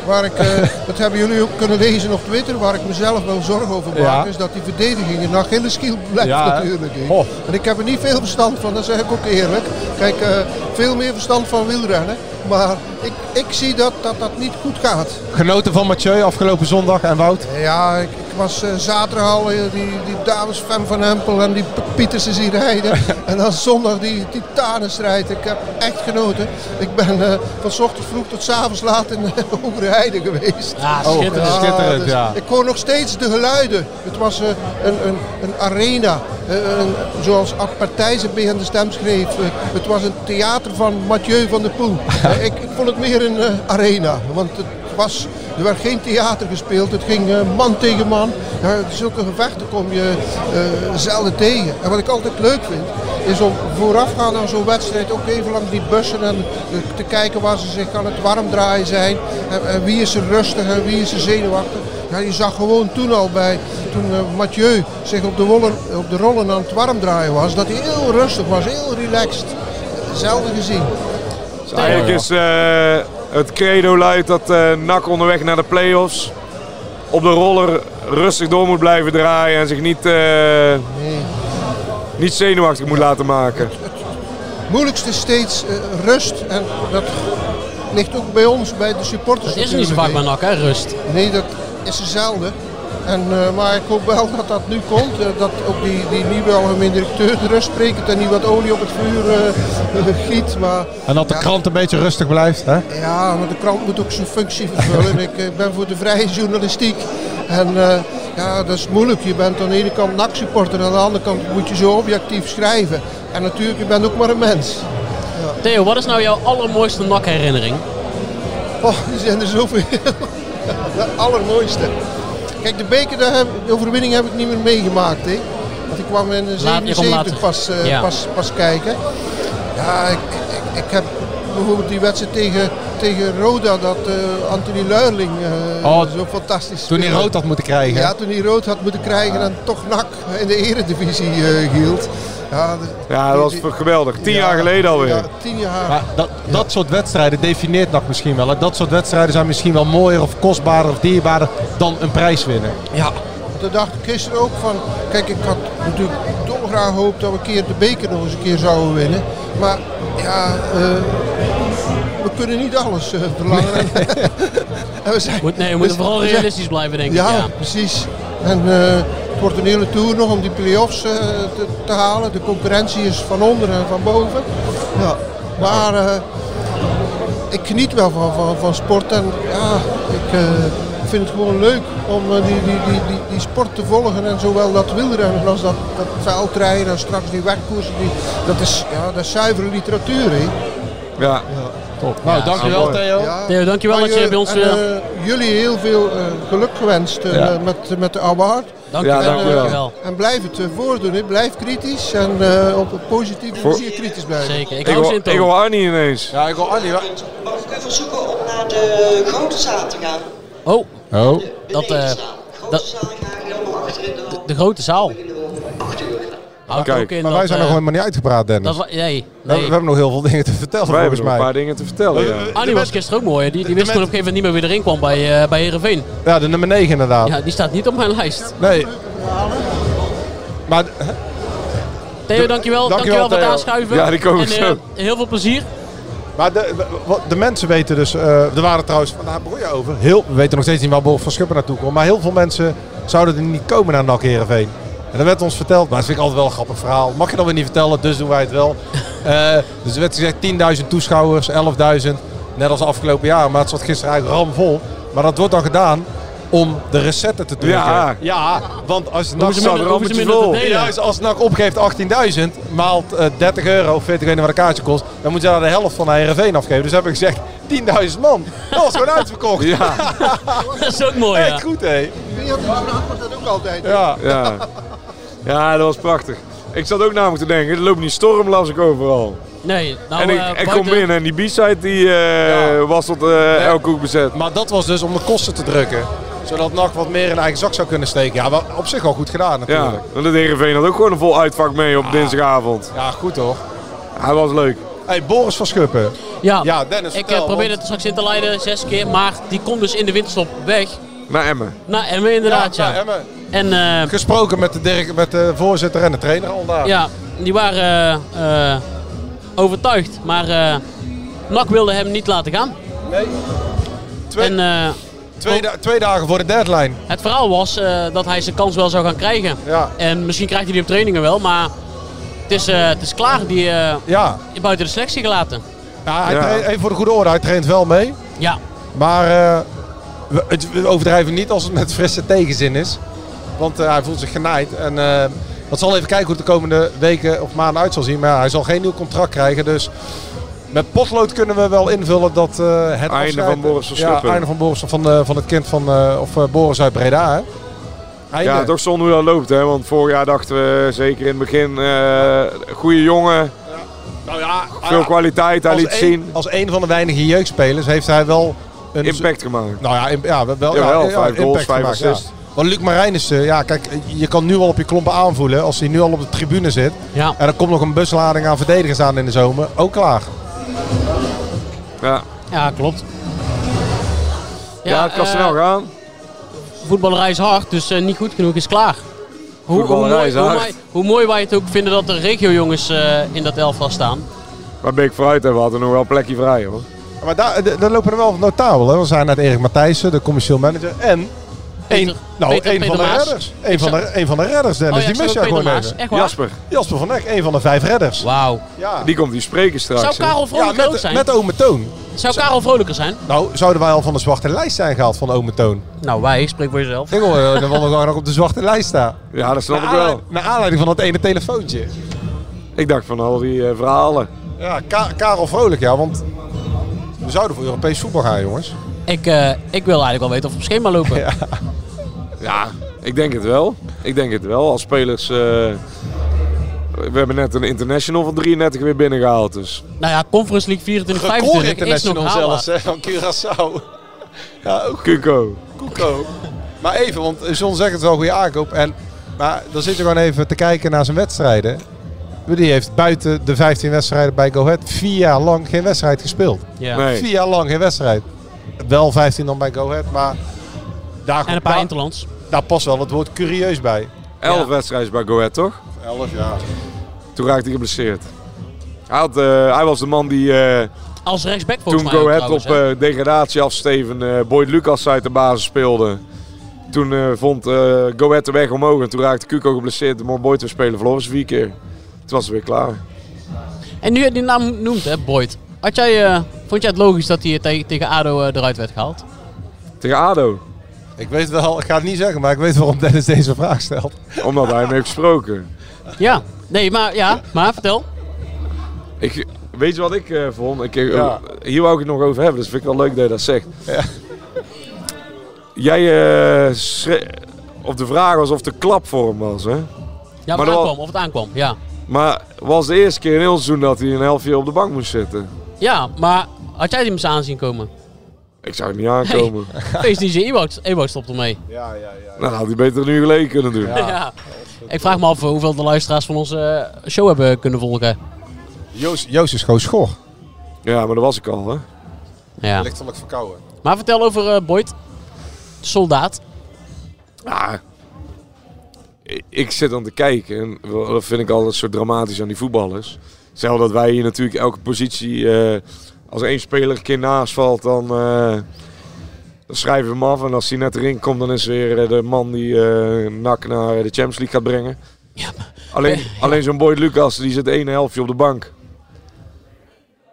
I: waar ik, eh, (laughs) dat hebben jullie ook kunnen lezen op Twitter, waar ik mezelf wel zorgen over maak,
J: Ja.
I: is dat die verdediging een Achilleshiel blijft
J: Ja, hè?
I: natuurlijk. hè. En ik heb er niet veel verstand van, dat zeg ik ook eerlijk. Kijk, eh, veel meer verstand van wielrennen, maar ik, ik zie dat, dat dat niet goed gaat.
J: (laughs) Genoten van Mathieu afgelopen zondag en Wout?
I: Ja, ik, ik was eh, zaterdag al eh, die, die dames Fem van Hempel en die P- Pietersen zien
J: (laughs)
I: rijden. en dan zondag die titanenstrijd. Ik heb echt genoten. Ik ben eh, van 's ochtends vroeg tot 's avonds laat in (laughs) Hogere Heide geweest. Ah, dus
J: Ja, Oh, schitterend. schitterend, ja.
I: Ik hoor nog steeds de geluiden. Het was eh, een, een, een arena. Eh, een- zoals Ad Partijzen bij de stem schreef. eh, het was een theater van Mathieu van der Poel. Eh, ik, ik vond het meer een eh, arena. Want het was, er werd geen theater gespeeld. Het ging eh, man tegen man. Ja, zulke gevechten kom je eh, zelden tegen. En wat ik altijd leuk vind, is om voorafgaand aan zo'n wedstrijd ook even langs die bussen en eh, te kijken waar ze zich aan het warm draaien zijn. En, en wie is er rustig en wie is er zenuwachtig. Ja, je zag gewoon toen al bij, toen eh, Mathieu zich op de, wollen, op de rollen aan het warm draaien was, dat hij heel rustig was, heel relaxed. Zelden gezien.
H: Dus eigenlijk is eh, het credo luidt dat eh NAC onderweg naar de play-offs op de roller rustig door moet blijven draaien en zich niet, eh, niet zenuwachtig moet laten maken.
I: Het moeilijkste is steeds eh, rust. En dat ligt ook bij ons, bij de supporters.
G: Dat is niet zo
I: natuurlijk,
G: vaak bij NAC, hè, rust.
I: Nee, dat is er zelden. En, eh, maar ik hoop wel dat dat nu komt. eh, dat ook die, die nieuwe algemeen directeur de rust spreekt en niet wat olie op het vuur eh, (laughs) giet. Maar
J: En dat de krant een beetje rustig blijft, hè?
I: ja, maar de krant moet ook zijn functie vervullen. ik eh, ben voor de vrije journalistiek. En eh, ja, dat is moeilijk. Je bent aan de ene kant NAC-supporter en aan de andere kant moet je zo objectief schrijven. En natuurlijk, je bent ook maar een mens.
G: Theo, wat is nou jouw allermooiste NAC-herinnering?
I: Oh, er zijn er zoveel. De allermooiste. Kijk, de beker, daar heb, de overwinning heb ik niet meer meegemaakt. Hè. Want ik kwam in eh,
G: Laat- je komt
I: 77
G: later.
I: pas, eh,
G: Ja.
I: pas, pas kijken. Ja, ik, ik, ik heb bijvoorbeeld die wedstrijd tegen, tegen Roda, dat eh, Anthony Luiling eh,
J: Oh,
I: zo fantastisch
J: Toen hij
I: speelde.
J: rood had moeten krijgen.
I: Ja, toen hij rood had moeten krijgen en toch nak in de eredivisie eh, hield. Ja, de-
H: Ja, dat was geweldig. Tien jaar geleden alweer.
I: ja, tien jaar.
J: Maar dat, dat soort wedstrijden defineert NAC misschien wel. hè? Dat soort wedstrijden zijn misschien wel mooier of kostbaarder of dierbaarder dan een prijs winnen.
I: Ja. Toen dacht ik gisteren ook van, kijk ik had natuurlijk dolgraag gehoopt dat we een keer de beker nog eens een keer zouden winnen. Maar ja, eh, we kunnen niet alles eh, verlangen.
G: (laughs)
I: En we zijn,
G: Moet- nee, we moeten vooral
I: zijn-
G: realistisch blijven, denk ik,
I: Ja,
G: ja.
I: precies. En eh, het wordt een hele tour nog om die play-offs eh, te, te halen. De concurrentie is van onder en van boven. Ja. Maar eh, ik geniet wel van, van, van sport en ja, ik eh, vind het gewoon leuk om eh, die, die, die, die, die sport te volgen. En zowel dat wielrennen als dat, dat veldrijden en straks die wegkoersen. Die, dat, is, ja, dat is zuivere literatuur. Hè.
H: Ja,
J: top. Nou, dankjewel Theo.
G: Theo, dankjewel
I: Maar
G: dat je
I: je-
G: bij ons
I: en,
G: weer...
I: eh, jullie heel veel eh, geluk gewenst eh,
G: Ja.
I: met, met de award.
G: Dankjewel.
I: En, eh,
G: Ja, dankjewel.
I: En blijf het eh, voordoen. hè. Blijf kritisch en eh, op een positieve
H: Voor-
I: manier kritisch blijven. Zeker.
H: Ik hoor, ik hoor Arnie ineens.
J: Ja, ik hoor Arnie.
M: Mag ik u verzoeken om naar de grote zaal te gaan?
G: Oh.
J: Oh.
G: Dat, eh, dat, (laughs) de, de grote zaal. Houdt ook in
J: maar wij
G: dat,
J: zijn
G: eh,
J: nog helemaal niet uitgepraat, Dennis.
G: dat wa- nee, nee.
J: We, hebben- we hebben nog heel veel dingen te vertellen,
H: Wij hebben
J: volgens
H: nog een
J: mij.
H: paar dingen te vertellen. Ja.
G: Arnie was gisteren ook mooi. hè. Die, die wist gewoon op een gegeven moment niet meer wie erin kwam bij, eh, bij Heerenveen.
J: Ja, de nummer 9 inderdaad.
G: Ja, die staat niet op mijn lijst.
J: Nee. Maar...
G: Theo, dankjewel. Dankjewel, voor het
J: Theo.
G: aanschuiven.
J: Ja, die komen
G: en, eh,
J: zo.
G: heel veel plezier.
J: Maar de, wat- de mensen weten dus, eh er waren trouwens, want daar begon je over, heel, we weten nog steeds niet waar Boris van Schuppen naartoe komt, maar heel veel mensen zouden er niet komen naar NAC Heerenveen. En dat werd ons verteld, maar dat vind ik altijd wel een grappig verhaal. Mag je dat weer niet vertellen, dus doen wij het (laughs) wel. Eh, dus er werd gezegd 10.000 toeschouwers, 11.000. Net als afgelopen jaar, maar het zat gisteren eigenlijk ramvol. Maar dat wordt dan gedaan om de recetten te drukken.
H: Ja.
J: ja want als
H: Hoeven ze minder- hoeven ze minder te delen.
J: Ja, dus als NAC opgeeft 18.000 maalt eh, 30 euro of 40 euro wat een kaartje kost, dan moeten ze daar de helft van naar Heerenveen afgeven. Dus heb ik gezegd 10.000 man. Dat was gewoon uitverkocht.
H: (laughs) Ja.
G: dat is ook mooi.
J: (laughs) Echt goed hé.
N: Wie had dat ook altijd?
J: Ja.
H: Ja. ja, dat was prachtig. Ik zat ook namelijk te denken, er loopt niet storm, las ik overal.
G: Nee, nou,
H: en ik,
G: eh,
H: ik kom
G: buiten-
H: binnen en die B-side die, eh, was tot eh elke hoek bezet.
J: Maar dat was dus om de kosten te drukken. Zodat NAC wat meer in eigen zak zou kunnen steken. Ja, wel op zich al goed gedaan
H: Ja,
J: natuurlijk.
H: want de Heerenveen had ook gewoon een vol uitvak mee op
G: Ah.
H: dinsdagavond.
J: Ja, goed toch?
H: Hij was leuk.
J: hey, Boris van Schuppen.
G: Ja,
J: Dennis,
G: ik
J: vertel,
G: eh, probeerde
J: want-
G: het straks in te leiden, zes keer. Maar die komt dus in de winterstop weg.
H: Naar Emmen.
G: Naar Emmen inderdaad, ja. En,
J: nou,
G: eh,
J: Gesproken met de, direct- met de voorzitter en de trainer al daar.
G: Ja, die waren eh, eh, overtuigd. Maar eh NAC wilde hem niet laten gaan.
J: Nee.
G: Twee, en, eh,
J: Twee, da- twee dagen voor de deadline.
G: het verhaal was eh, dat hij zijn kans wel zou gaan krijgen. En misschien krijgt hij die op trainingen wel, maar het is, eh, het is klaar. Die eh,
J: Ja.
G: buiten de selectie gelaten.
J: Ja, hij traint- even voor de goede orde, hij traint wel mee.
G: Ja.
J: Maar eh, we, het, we overdrijven niet als het met frisse tegenzin is. Want eh, hij voelt zich genaaid. En eh, dat zal even kijken hoe het de komende weken of maanden uit zal zien. Maar ja, hij zal geen nieuw contract krijgen. Dus met potlood kunnen we wel invullen dat eh, het
H: Einde
J: afscheid-
H: van Boris van
J: Ja,
H: Schuppen.
J: einde van Boris van, van, eh, van het kind van eh, of, eh, Boris uit Breda. Hè? Einde.
H: Ja, toch zonde hoe dat loopt, hè? Want vorig jaar dachten we zeker in het begin, eh goede jongen,
G: Ah,
H: veel kwaliteit, hij
J: Nou Als
H: liet
J: een-
H: zien.
J: Als een van de weinige jeugdspelers heeft hij wel een
G: dus-
H: Impact gemaakt.
J: Nou ja, im- ja wel, ja,
H: Jawel,
J: ja,
H: vijf
J: impact
H: goals, vijf
J: gemaakt, ja.
H: assists.
J: Want Luc Marijnissen, ja, kijk, je kan nu al op je klompen aanvoelen als hij nu al op de tribune zit.
G: Ja.
J: En er komt nog een buslading aan verdedigers aan in de zomer. Ook klaar.
H: Ja,
G: ja klopt.
H: Ja, het kan
G: eh,
H: snel gaan.
G: Voetballerij eh, is hard, dus eh, niet goed genoeg is klaar. Hoe, hoe,
H: Voetballerij
G: mooi,
H: is
G: hoe,
H: hard.
G: mooi, hoe mooi wij het ook vinden dat er regiojongens eh, in dat elftal staan.
J: dus
G: Oh
H: Maar Beek vooruit hebben we hadden nog wel een plekje vrij, hoor.
J: Maar daar, d- daar lopen er wel notabel. Hè? We zijn net Erik Matthijssen, de commercieel manager. En
G: Peter-
J: een, nou,
G: Peter-
J: een
G: Peter
J: van de
G: Maas.
J: redders. Een
G: Ik
J: van
G: zag-
J: de, een van de redders, Dennis.
G: Oh ja, ik
J: die mis
G: zag
J: je
G: ook
J: gewoon
G: Peter Maas.
J: even.
G: Echt waar? Jasper.
J: Jasper van Eck, een van de vijf redders.
G: Wauw.
H: Die komt die spreken straks.
G: Zou Karel Vrolijk
J: met,
G: ook zijn?
J: Met ome Toon.
G: Zou Karel vrolijker zijn?
J: Nou, zouden wij al van de zwarte lijst zijn gehaald van ome Toon?
G: Nou, wij, spreek voor jezelf.
J: Ik wil eh, dan wel nog (laughs) nog op de zwarte lijst staan.
H: Ja, dat snap
J: Naar
H: ik wel.
J: aanleiding- Naar aanleiding van dat ene telefoontje.
H: Ik dacht van al die eh, verhalen.
J: Ja, Ka- Karel Vrolijk, ja, want we zouden voor Europees voetbal gaan, jongens.
G: Ik, eh, ik wil eigenlijk wel weten of we op schema
J: (laughs)
G: lopen.
H: Ja, ik denk het wel. Ik denk het wel. Als spelers... eh, we hebben net een international van 33 weer binnengehaald, dus...
G: Nou ja, Conference League 24, 25 is nog haalbaar.
J: hè, van Curaçao. Ja, ook
H: Kuko.
J: Koeko. Maar even, want John zegt het wel, goede aankoop. En, maar dan zit je gewoon even te kijken naar zijn wedstrijden. Die heeft buiten de 15 wedstrijden bij Go Ahead vier jaar lang geen wedstrijd gespeeld.
G: Ja. Nee.
J: Vier jaar lang geen wedstrijd. Wel 15 dan bij Go Ahead, maar daar,
G: En een paar
J: daar-
G: Interlands.
J: daar past wel het woord curieus bij.
H: 11 wedstrijden bij Go Ahead, toch?
J: 11 jaar.
H: Toen raakte hij geblesseerd. Hij, had, eh, hij was de man die... eh,
G: Als rechtsback volgens
H: Toen
G: mij
H: Go
G: ook
H: Ahead op
G: trouwens, hè.
H: eh, degradatie afsteven, eh Boyd Lucas uit de basis speelde. Toen eh, vond eh Go Ahead de weg omhoog en toen raakte Kuko geblesseerd. Mocht Boyd weer spelen, verloren ze vier keer. Toen was het weer klaar.
G: En nu je die naam noemt, hè, Boyd. Had jij, eh, vond jij het logisch dat hij te- tegen ADO eh, eruit werd gehaald?
H: Tegen ADO.
J: Ik weet wel, ik ga het niet zeggen, maar ik weet waarom Dennis deze vraag stelt.
H: Omdat hij hem heeft gesproken.
G: Ja. Nee, maar ja. Maar vertel.
H: Ik, weet je wat ik eh, vond? Ik, eh,
G: Ja.
H: Hier wou ik het nog over hebben, dus vind ik wel leuk dat je dat zegt. Jij eh, schre- of de vraag was of de klap voor hem was, hè?
G: Ja, of
H: Maar
G: het
H: dat-
G: aankwam. Of het aankwam, ja.
H: Maar was de eerste keer in heel het seizoen dat hij een helftje op de bank moest zitten.
G: Ja, maar had jij hem eens aanzien
H: (laughs)
G: komen?
H: Ik zou het niet aankomen.
G: Feest DJ Ewout. Ewout stopt ermee.
J: Ja, ja, ja.
H: Nou, dat had hij beter een uur geleden kunnen doen.
G: ja. Ik vraag me af eh, hoeveel de luisteraars van onze eh, show hebben kunnen volgen.
J: Joost, Joost is gewoon schor.
H: Ja, maar dat was ik al, hè?
G: Ja.
J: Lichtelijk verkouden.
G: Maar vertel over eh, Boyd. Soldaat.
H: Ja. I- Ik zit dan te kijken en wel- dat vind ik altijd zo dramatisch aan die voetballers. Zelfs dat wij hier natuurlijk elke positie, eh, als één speler een keer naast valt, dan eh, Dan schrijven we hem af en als hij net erin komt, dan is weer eh, de man die eh NAC naar de Champions League gaat brengen. alleen alleen zo'n boy Lucas, die zit één helftje op de bank.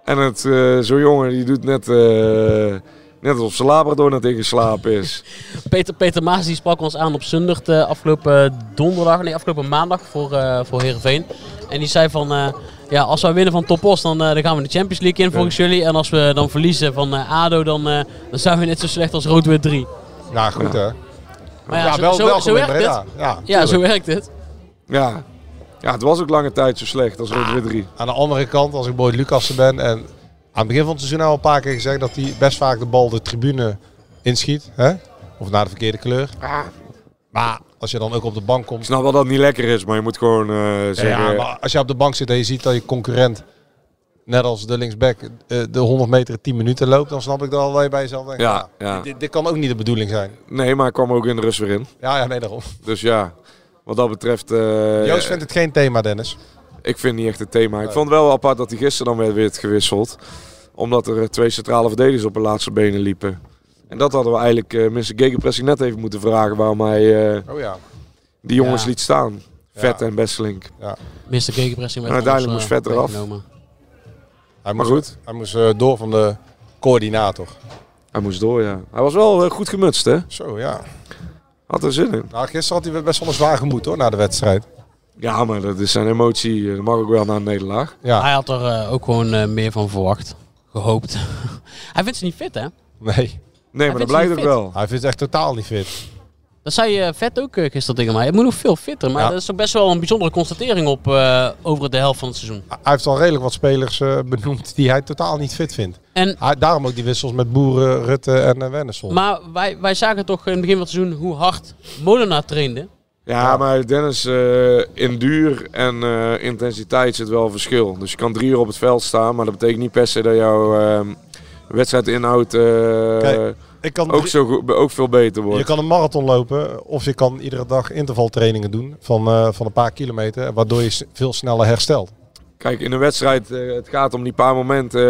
H: En het, eh, zo'n jongen die doet net, eh, net alsof zijn labrador net ingeslapen is.
G: Peter, Peter Maas die sprak ons aan op zondag eh, afgelopen donderdag, nee afgelopen maandag voor, eh voor Heerenveen. En die zei van, eh, ja als wij winnen van Topos dan, eh, dan gaan we de Champions League in volgens jullie. En als we dan verliezen van eh, ADO dan, eh, dan zijn we net zo slecht als Rood-Wit 3.
J: Nou goed hè.
G: Maar ja,
J: Ja,
G: zo,
J: wel-
G: zo,
J: welkom
G: zo
J: in
G: werkt
J: Breda.
G: het.
J: Ja,
G: ja, zo werkt
J: tuurlijk.
G: het.
H: Ja. ja, het was ook lange tijd zo slecht als Rood Wit 3.
J: Aan de andere kant, als ik Boyd Lucassen ben en aan het begin van het seizoen al een paar keer gezegd dat hij best vaak de bal de tribune inschiet. Hè? Of naar de verkeerde kleur. Maar als je dan ook op de bank komt.
H: Ik snap wel dat het niet lekker is, maar je moet gewoon eh, zeggen...
J: Ja, maar als je op de bank zit en je ziet dat je concurrent, net als de linksback, eh, de 100 meter in 10 minuten loopt, dan snap ik dat al dat je bij jezelf denkt.
H: Ja,
J: nou,
H: ja.
J: Dit, dit kan ook niet de bedoeling zijn.
H: Nee, maar hij kwam ook in de rust weer in.
J: Ja, ja nee, daarom.
H: Dus ja, wat dat betreft... eh,
J: Joost vindt het geen thema, Dennis.
H: Ik vind niet echt het thema. Ik vond het wel apart dat hij gisteren dan weer werd gewisseld. Omdat er eh, twee centrale verdedigers op hun laatste benen liepen. En dat hadden we eigenlijk eh minstens Gegenpressing net even moeten vragen waarom hij eh,
J: Oh ja.
H: die jongens
G: Ja.
H: liet staan.
G: Ja.
H: Vet en Besselink.
J: Ja.
G: Mr. Gegenpressing
H: En
G: werd
H: uiteindelijk
G: ons,
H: moest
G: eh,
H: Vet eraf.
G: meegenomen.
J: Hij
H: Maar
J: moest,
H: goed.
J: Hij moest eh, door van de coördinator.
H: Hij moest door, ja. Hij was wel eh, goed gemutst, hè?
J: Zo, ja.
H: Had er zin in.
J: Nou, gisteren had hij best wel een zwaar gemoed hoor, na de wedstrijd.
H: Ja, maar dat is zijn emotie. eh, Dat mag ook wel naar een nederlaag.
J: Ja.
G: Hij had er eh, ook gewoon eh, meer van verwacht, gehoopt. (laughs) hij vindt ze niet fit hè?
J: Nee.
H: Nee,
G: maar dat blijkt ook wel.
J: Hij vindt het echt totaal niet fit.
G: Dat zei eh, Vet ook eh, gisteren tegen mij. Het moet nog veel fitter. Maar
J: Ja.
G: dat is toch best wel een bijzondere constatering op eh, over de helft van het seizoen.
J: Hij heeft al redelijk wat spelers eh, benoemd die hij totaal niet fit vindt.
G: En-
J: Hij- daarom ook die wissels met Boeren, Rutte en uh,
G: Maar wij, wij zagen toch in het begin van het seizoen hoe hard Molenaar trainde.
H: Ja, maar Dennis, eh, in duur en eh, intensiteit zit wel een verschil. Dus je kan drie uur op het veld staan, maar dat betekent niet per se dat jouw ehm, wedstrijdinhoud eh,
J: Kijk, ik kan
H: ook,
J: drie-
H: zo, goed- ook veel beter wordt.
J: Je kan een marathon lopen of je kan iedere dag intervaltrainingen doen van, eh, van een paar kilometer, waardoor je s- veel sneller herstelt.
H: Kijk, in een wedstrijd, eh, het gaat om die paar momenten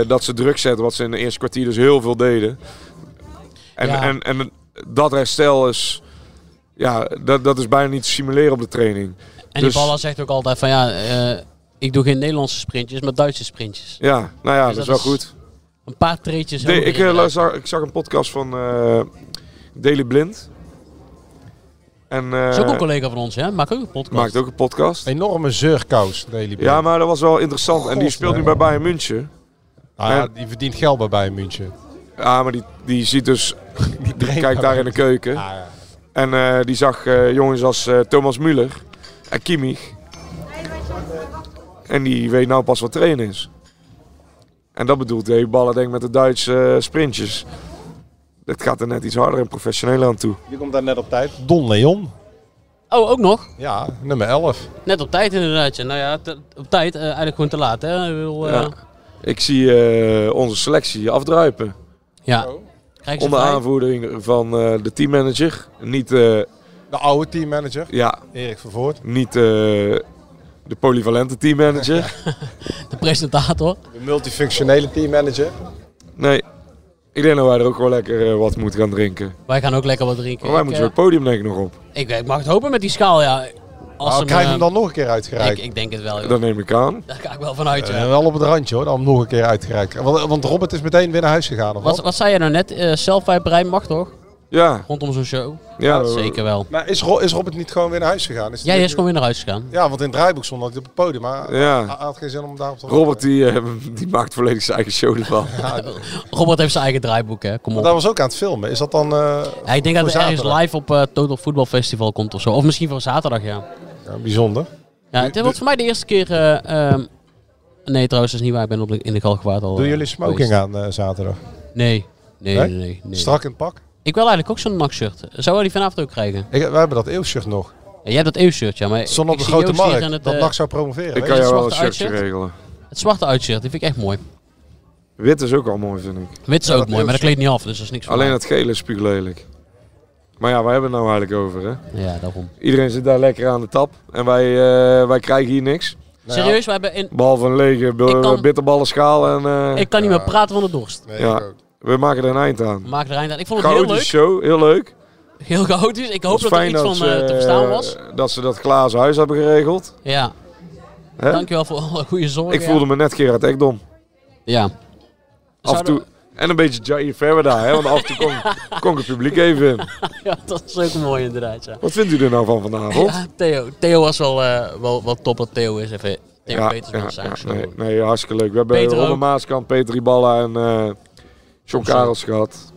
H: eh, dat ze druk zetten, wat ze in de eerste kwartier dus heel veel deden. En,
G: Ja.
H: en, en dat herstel is, ja, dat, dat is bijna niet te simuleren op de training.
G: En
H: Dus-
G: die baller zegt ook altijd van ja, eh, ik doe geen Nederlandse sprintjes, maar Duitse sprintjes.
H: Ja, nou ja, dat is wel goed.
G: Een paar treetjes.
H: Nee,
G: hoger
H: ik, eh,
G: inderdaad.
H: zag, ik zag een podcast van eh Daily Blind. En, eh,
G: is ook een collega van ons, hè? Maakt ook een podcast.
H: Maakt ook een podcast.
J: Enorme zeurkous, Daily Blind.
H: Ja, maar dat was wel interessant. en die
J: God,
H: speelt nu
J: nee.
H: bij Bayern München.
J: Nou ja,
H: En-
J: die verdient geld bij Bayern München.
H: ja, Ah, maar die, die ziet dus... Die, kijkt daar in de keuken.
J: ja.
H: En eh, die zag eh, jongens als eh, Thomas Müller en Kimmich. En die weet nou pas wat trainen is. En dat bedoelt de ballen denk ik met de Duitse eh, sprintjes. Dat gaat er net iets harder en professioneler aan toe.
J: Je komt daar net op tijd. Don Leon,
G: Oh, ook nog?
J: ja, nummer 11.
G: Net op tijd inderdaad. ja. Nou ja, te- op tijd. eh, eigenlijk gewoon te laat, hè? Ik bedoel, eh,
H: Ja. Ik zie eh, onze selectie afdruipen.
G: ja. Krijgen ze
H: Onder
G: vrij?
H: aanvoering van eh, de teammanager. Niet, eh,
J: De oude teammanager,
H: ja,
J: Erik Vervoort.
H: niet eh, de polyvalente (laughs) teammanager.
G: De presentator.
J: De multifunctionele teammanager.
H: Nee. Ik denk dat wij er ook wel lekker eh, wat moeten gaan drinken.
G: Wij gaan ook lekker wat drinken.
H: Maar Oh, wij
G: Ik,
H: moeten
G: eh,
H: weer het podium denk ik nog op.
G: Ik, ik mag het hopen met die schaal, ja. Als
J: Nou,
G: hem,
J: krijg je hem
G: eh,
J: dan nog een keer
G: ik,
J: uitgereikt?
G: ik denk het wel, joh.
H: Dat neem ik aan.
G: Daar ga ik wel vanuit,
J: Eh,
G: ja.
J: wel op het randje hoor, dan nog een keer uitgereikt. Want, eh, want Robert is meteen weer naar huis gegaan of
G: Wat,
J: wat?
G: wat zei je nou net? Eh Zelfwijperij mag toch?
H: Ja.
G: Rondom zo'n show?
H: Ja,
G: dat zeker wel.
J: Maar is, Ro- is Robert niet gewoon weer naar huis gegaan? Is
G: Ja, hij is gewoon weer naar huis gegaan.
J: Ja, want in het draaiboek stond hij op het podium, maar
H: Ja.
J: hij hij had geen zin om daarop te
H: Robert die, eh, die maakt volledig zijn eigen show (laughs) ervan.
G: Robert heeft zijn eigen draaiboek, hè. Kom
J: Maar
G: op.
J: daar was ook aan het filmen. Is dat dan... eh,
G: Ja, ik denk
J: voor
G: dat hij ergens
J: zaterdag?
G: live op eh Total Football Festival komt of zo. Of misschien voor zaterdag, ja.
J: Ja, bijzonder.
G: ja het wordt voor mij de eerste keer... eh, ehm, nee, trouwens, dat is niet waar. Ik ben op de- in de Galgenwaard al...
J: Doen
G: eh,
J: jullie smoking
G: geweest.
J: aan eh, zaterdag?
G: Nee. Nee,
J: Nee?
G: nee, nee, nee.
J: Strak in het pak?
G: Ik wil eigenlijk ook zo'n NAC-shirt. Zou jij die vanavond ook krijgen?
J: Ik, wij hebben dat eeuwshirt nog.
G: Ja, jij hebt dat eeuwshirt, ja. Maar ik-
J: Stond op
G: ik
J: de
G: zie
J: grote
G: Joost hier
J: markt,
G: aan het,
J: dat
G: eh,
J: NAC zou promoveren.
H: Ik
J: Weet
H: kan
J: je?
H: jou wel een
G: zwarte
H: shirtje
G: uitshirt?
H: regelen.
G: Het zwarte uitshirt, die vind ik echt mooi.
H: Wit is ook al mooi, vind ik.
G: Wit is
J: Ja,
G: ook mooi, maar
J: dat
G: dat
J: eeuwshirt.
G: kleedt niet af, dus dat is niks voor
H: Alleen
G: mij.
H: dat gele is spuuglelijk. Maar ja, waar hebben we het nou eigenlijk over, hè?
G: Ja, daarom.
H: Iedereen zit daar lekker aan de tap. En wij, eh, wij krijgen hier niks.
G: Serieus, we hebben in...
H: Behalve een lege
G: Ik
H: b-
G: kan-
H: bitterballenschaal en... eh,
G: Ik kan niet meer praten van de dorst.
H: ja. We maken er een eind aan.
G: We maken er een eind aan. Ik vond het heel
H: Chaotische show, heel leuk.
G: Heel chaotisch. Ik hoop
H: Het
G: dat
H: is
G: er
H: fijn
G: iets van eh,
H: ze,
G: te verstaan was.
H: eh, Dat ze dat glazen huis hebben geregeld.
G: Ja.
H: Hè?
G: Dankjewel voor alle goede zorgen.
H: Ik voelde me net Gerard Ekdom.
G: Ja.
H: Af en toe... En een beetje Jair Verwerda, hè? want af en toe kon,
G: (laughs)
H: kon ik het publiek even in.
G: ja, (laughs) dat is ook mooi inderdaad. Ja.
H: Wat vindt u er nou van vanavond?
G: Ja, Theo. Theo was wel, eh, wel, wel top dat Theo is. Even Theo
H: Ja,
G: Peters
H: ja,
G: met zijn
H: ja,
G: show.
H: nee, nee, hartstikke leuk. We hebben
G: Peter
H: Ronde
G: ook.
H: Maaskant, Peter Iballa en eh John Karels gehad.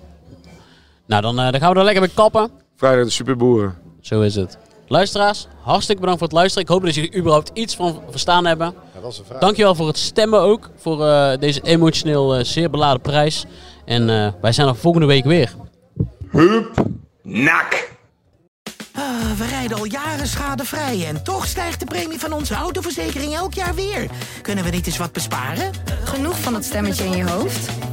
G: Nou, dan, eh, dan gaan we er lekker mee kappen.
H: Vrijdag de Superboeren.
G: Zo is het. Luisteraars, hartstikke bedankt voor het luisteren. Ik hoop dat jullie überhaupt iets van verstaan hebben.
J: dat is een vraag.
G: Dankjewel voor het stemmen ook. Voor eh, deze emotioneel eh, zeer beladen prijs. En eh, wij zijn er volgende week weer. Hup, nak.
A: Ah, we rijden al jaren schadevrij en toch stijgt de premie van onze autoverzekering elk jaar weer. Kunnen we niet eens wat besparen?
B: Genoeg van dat stemmetje in je hoofd?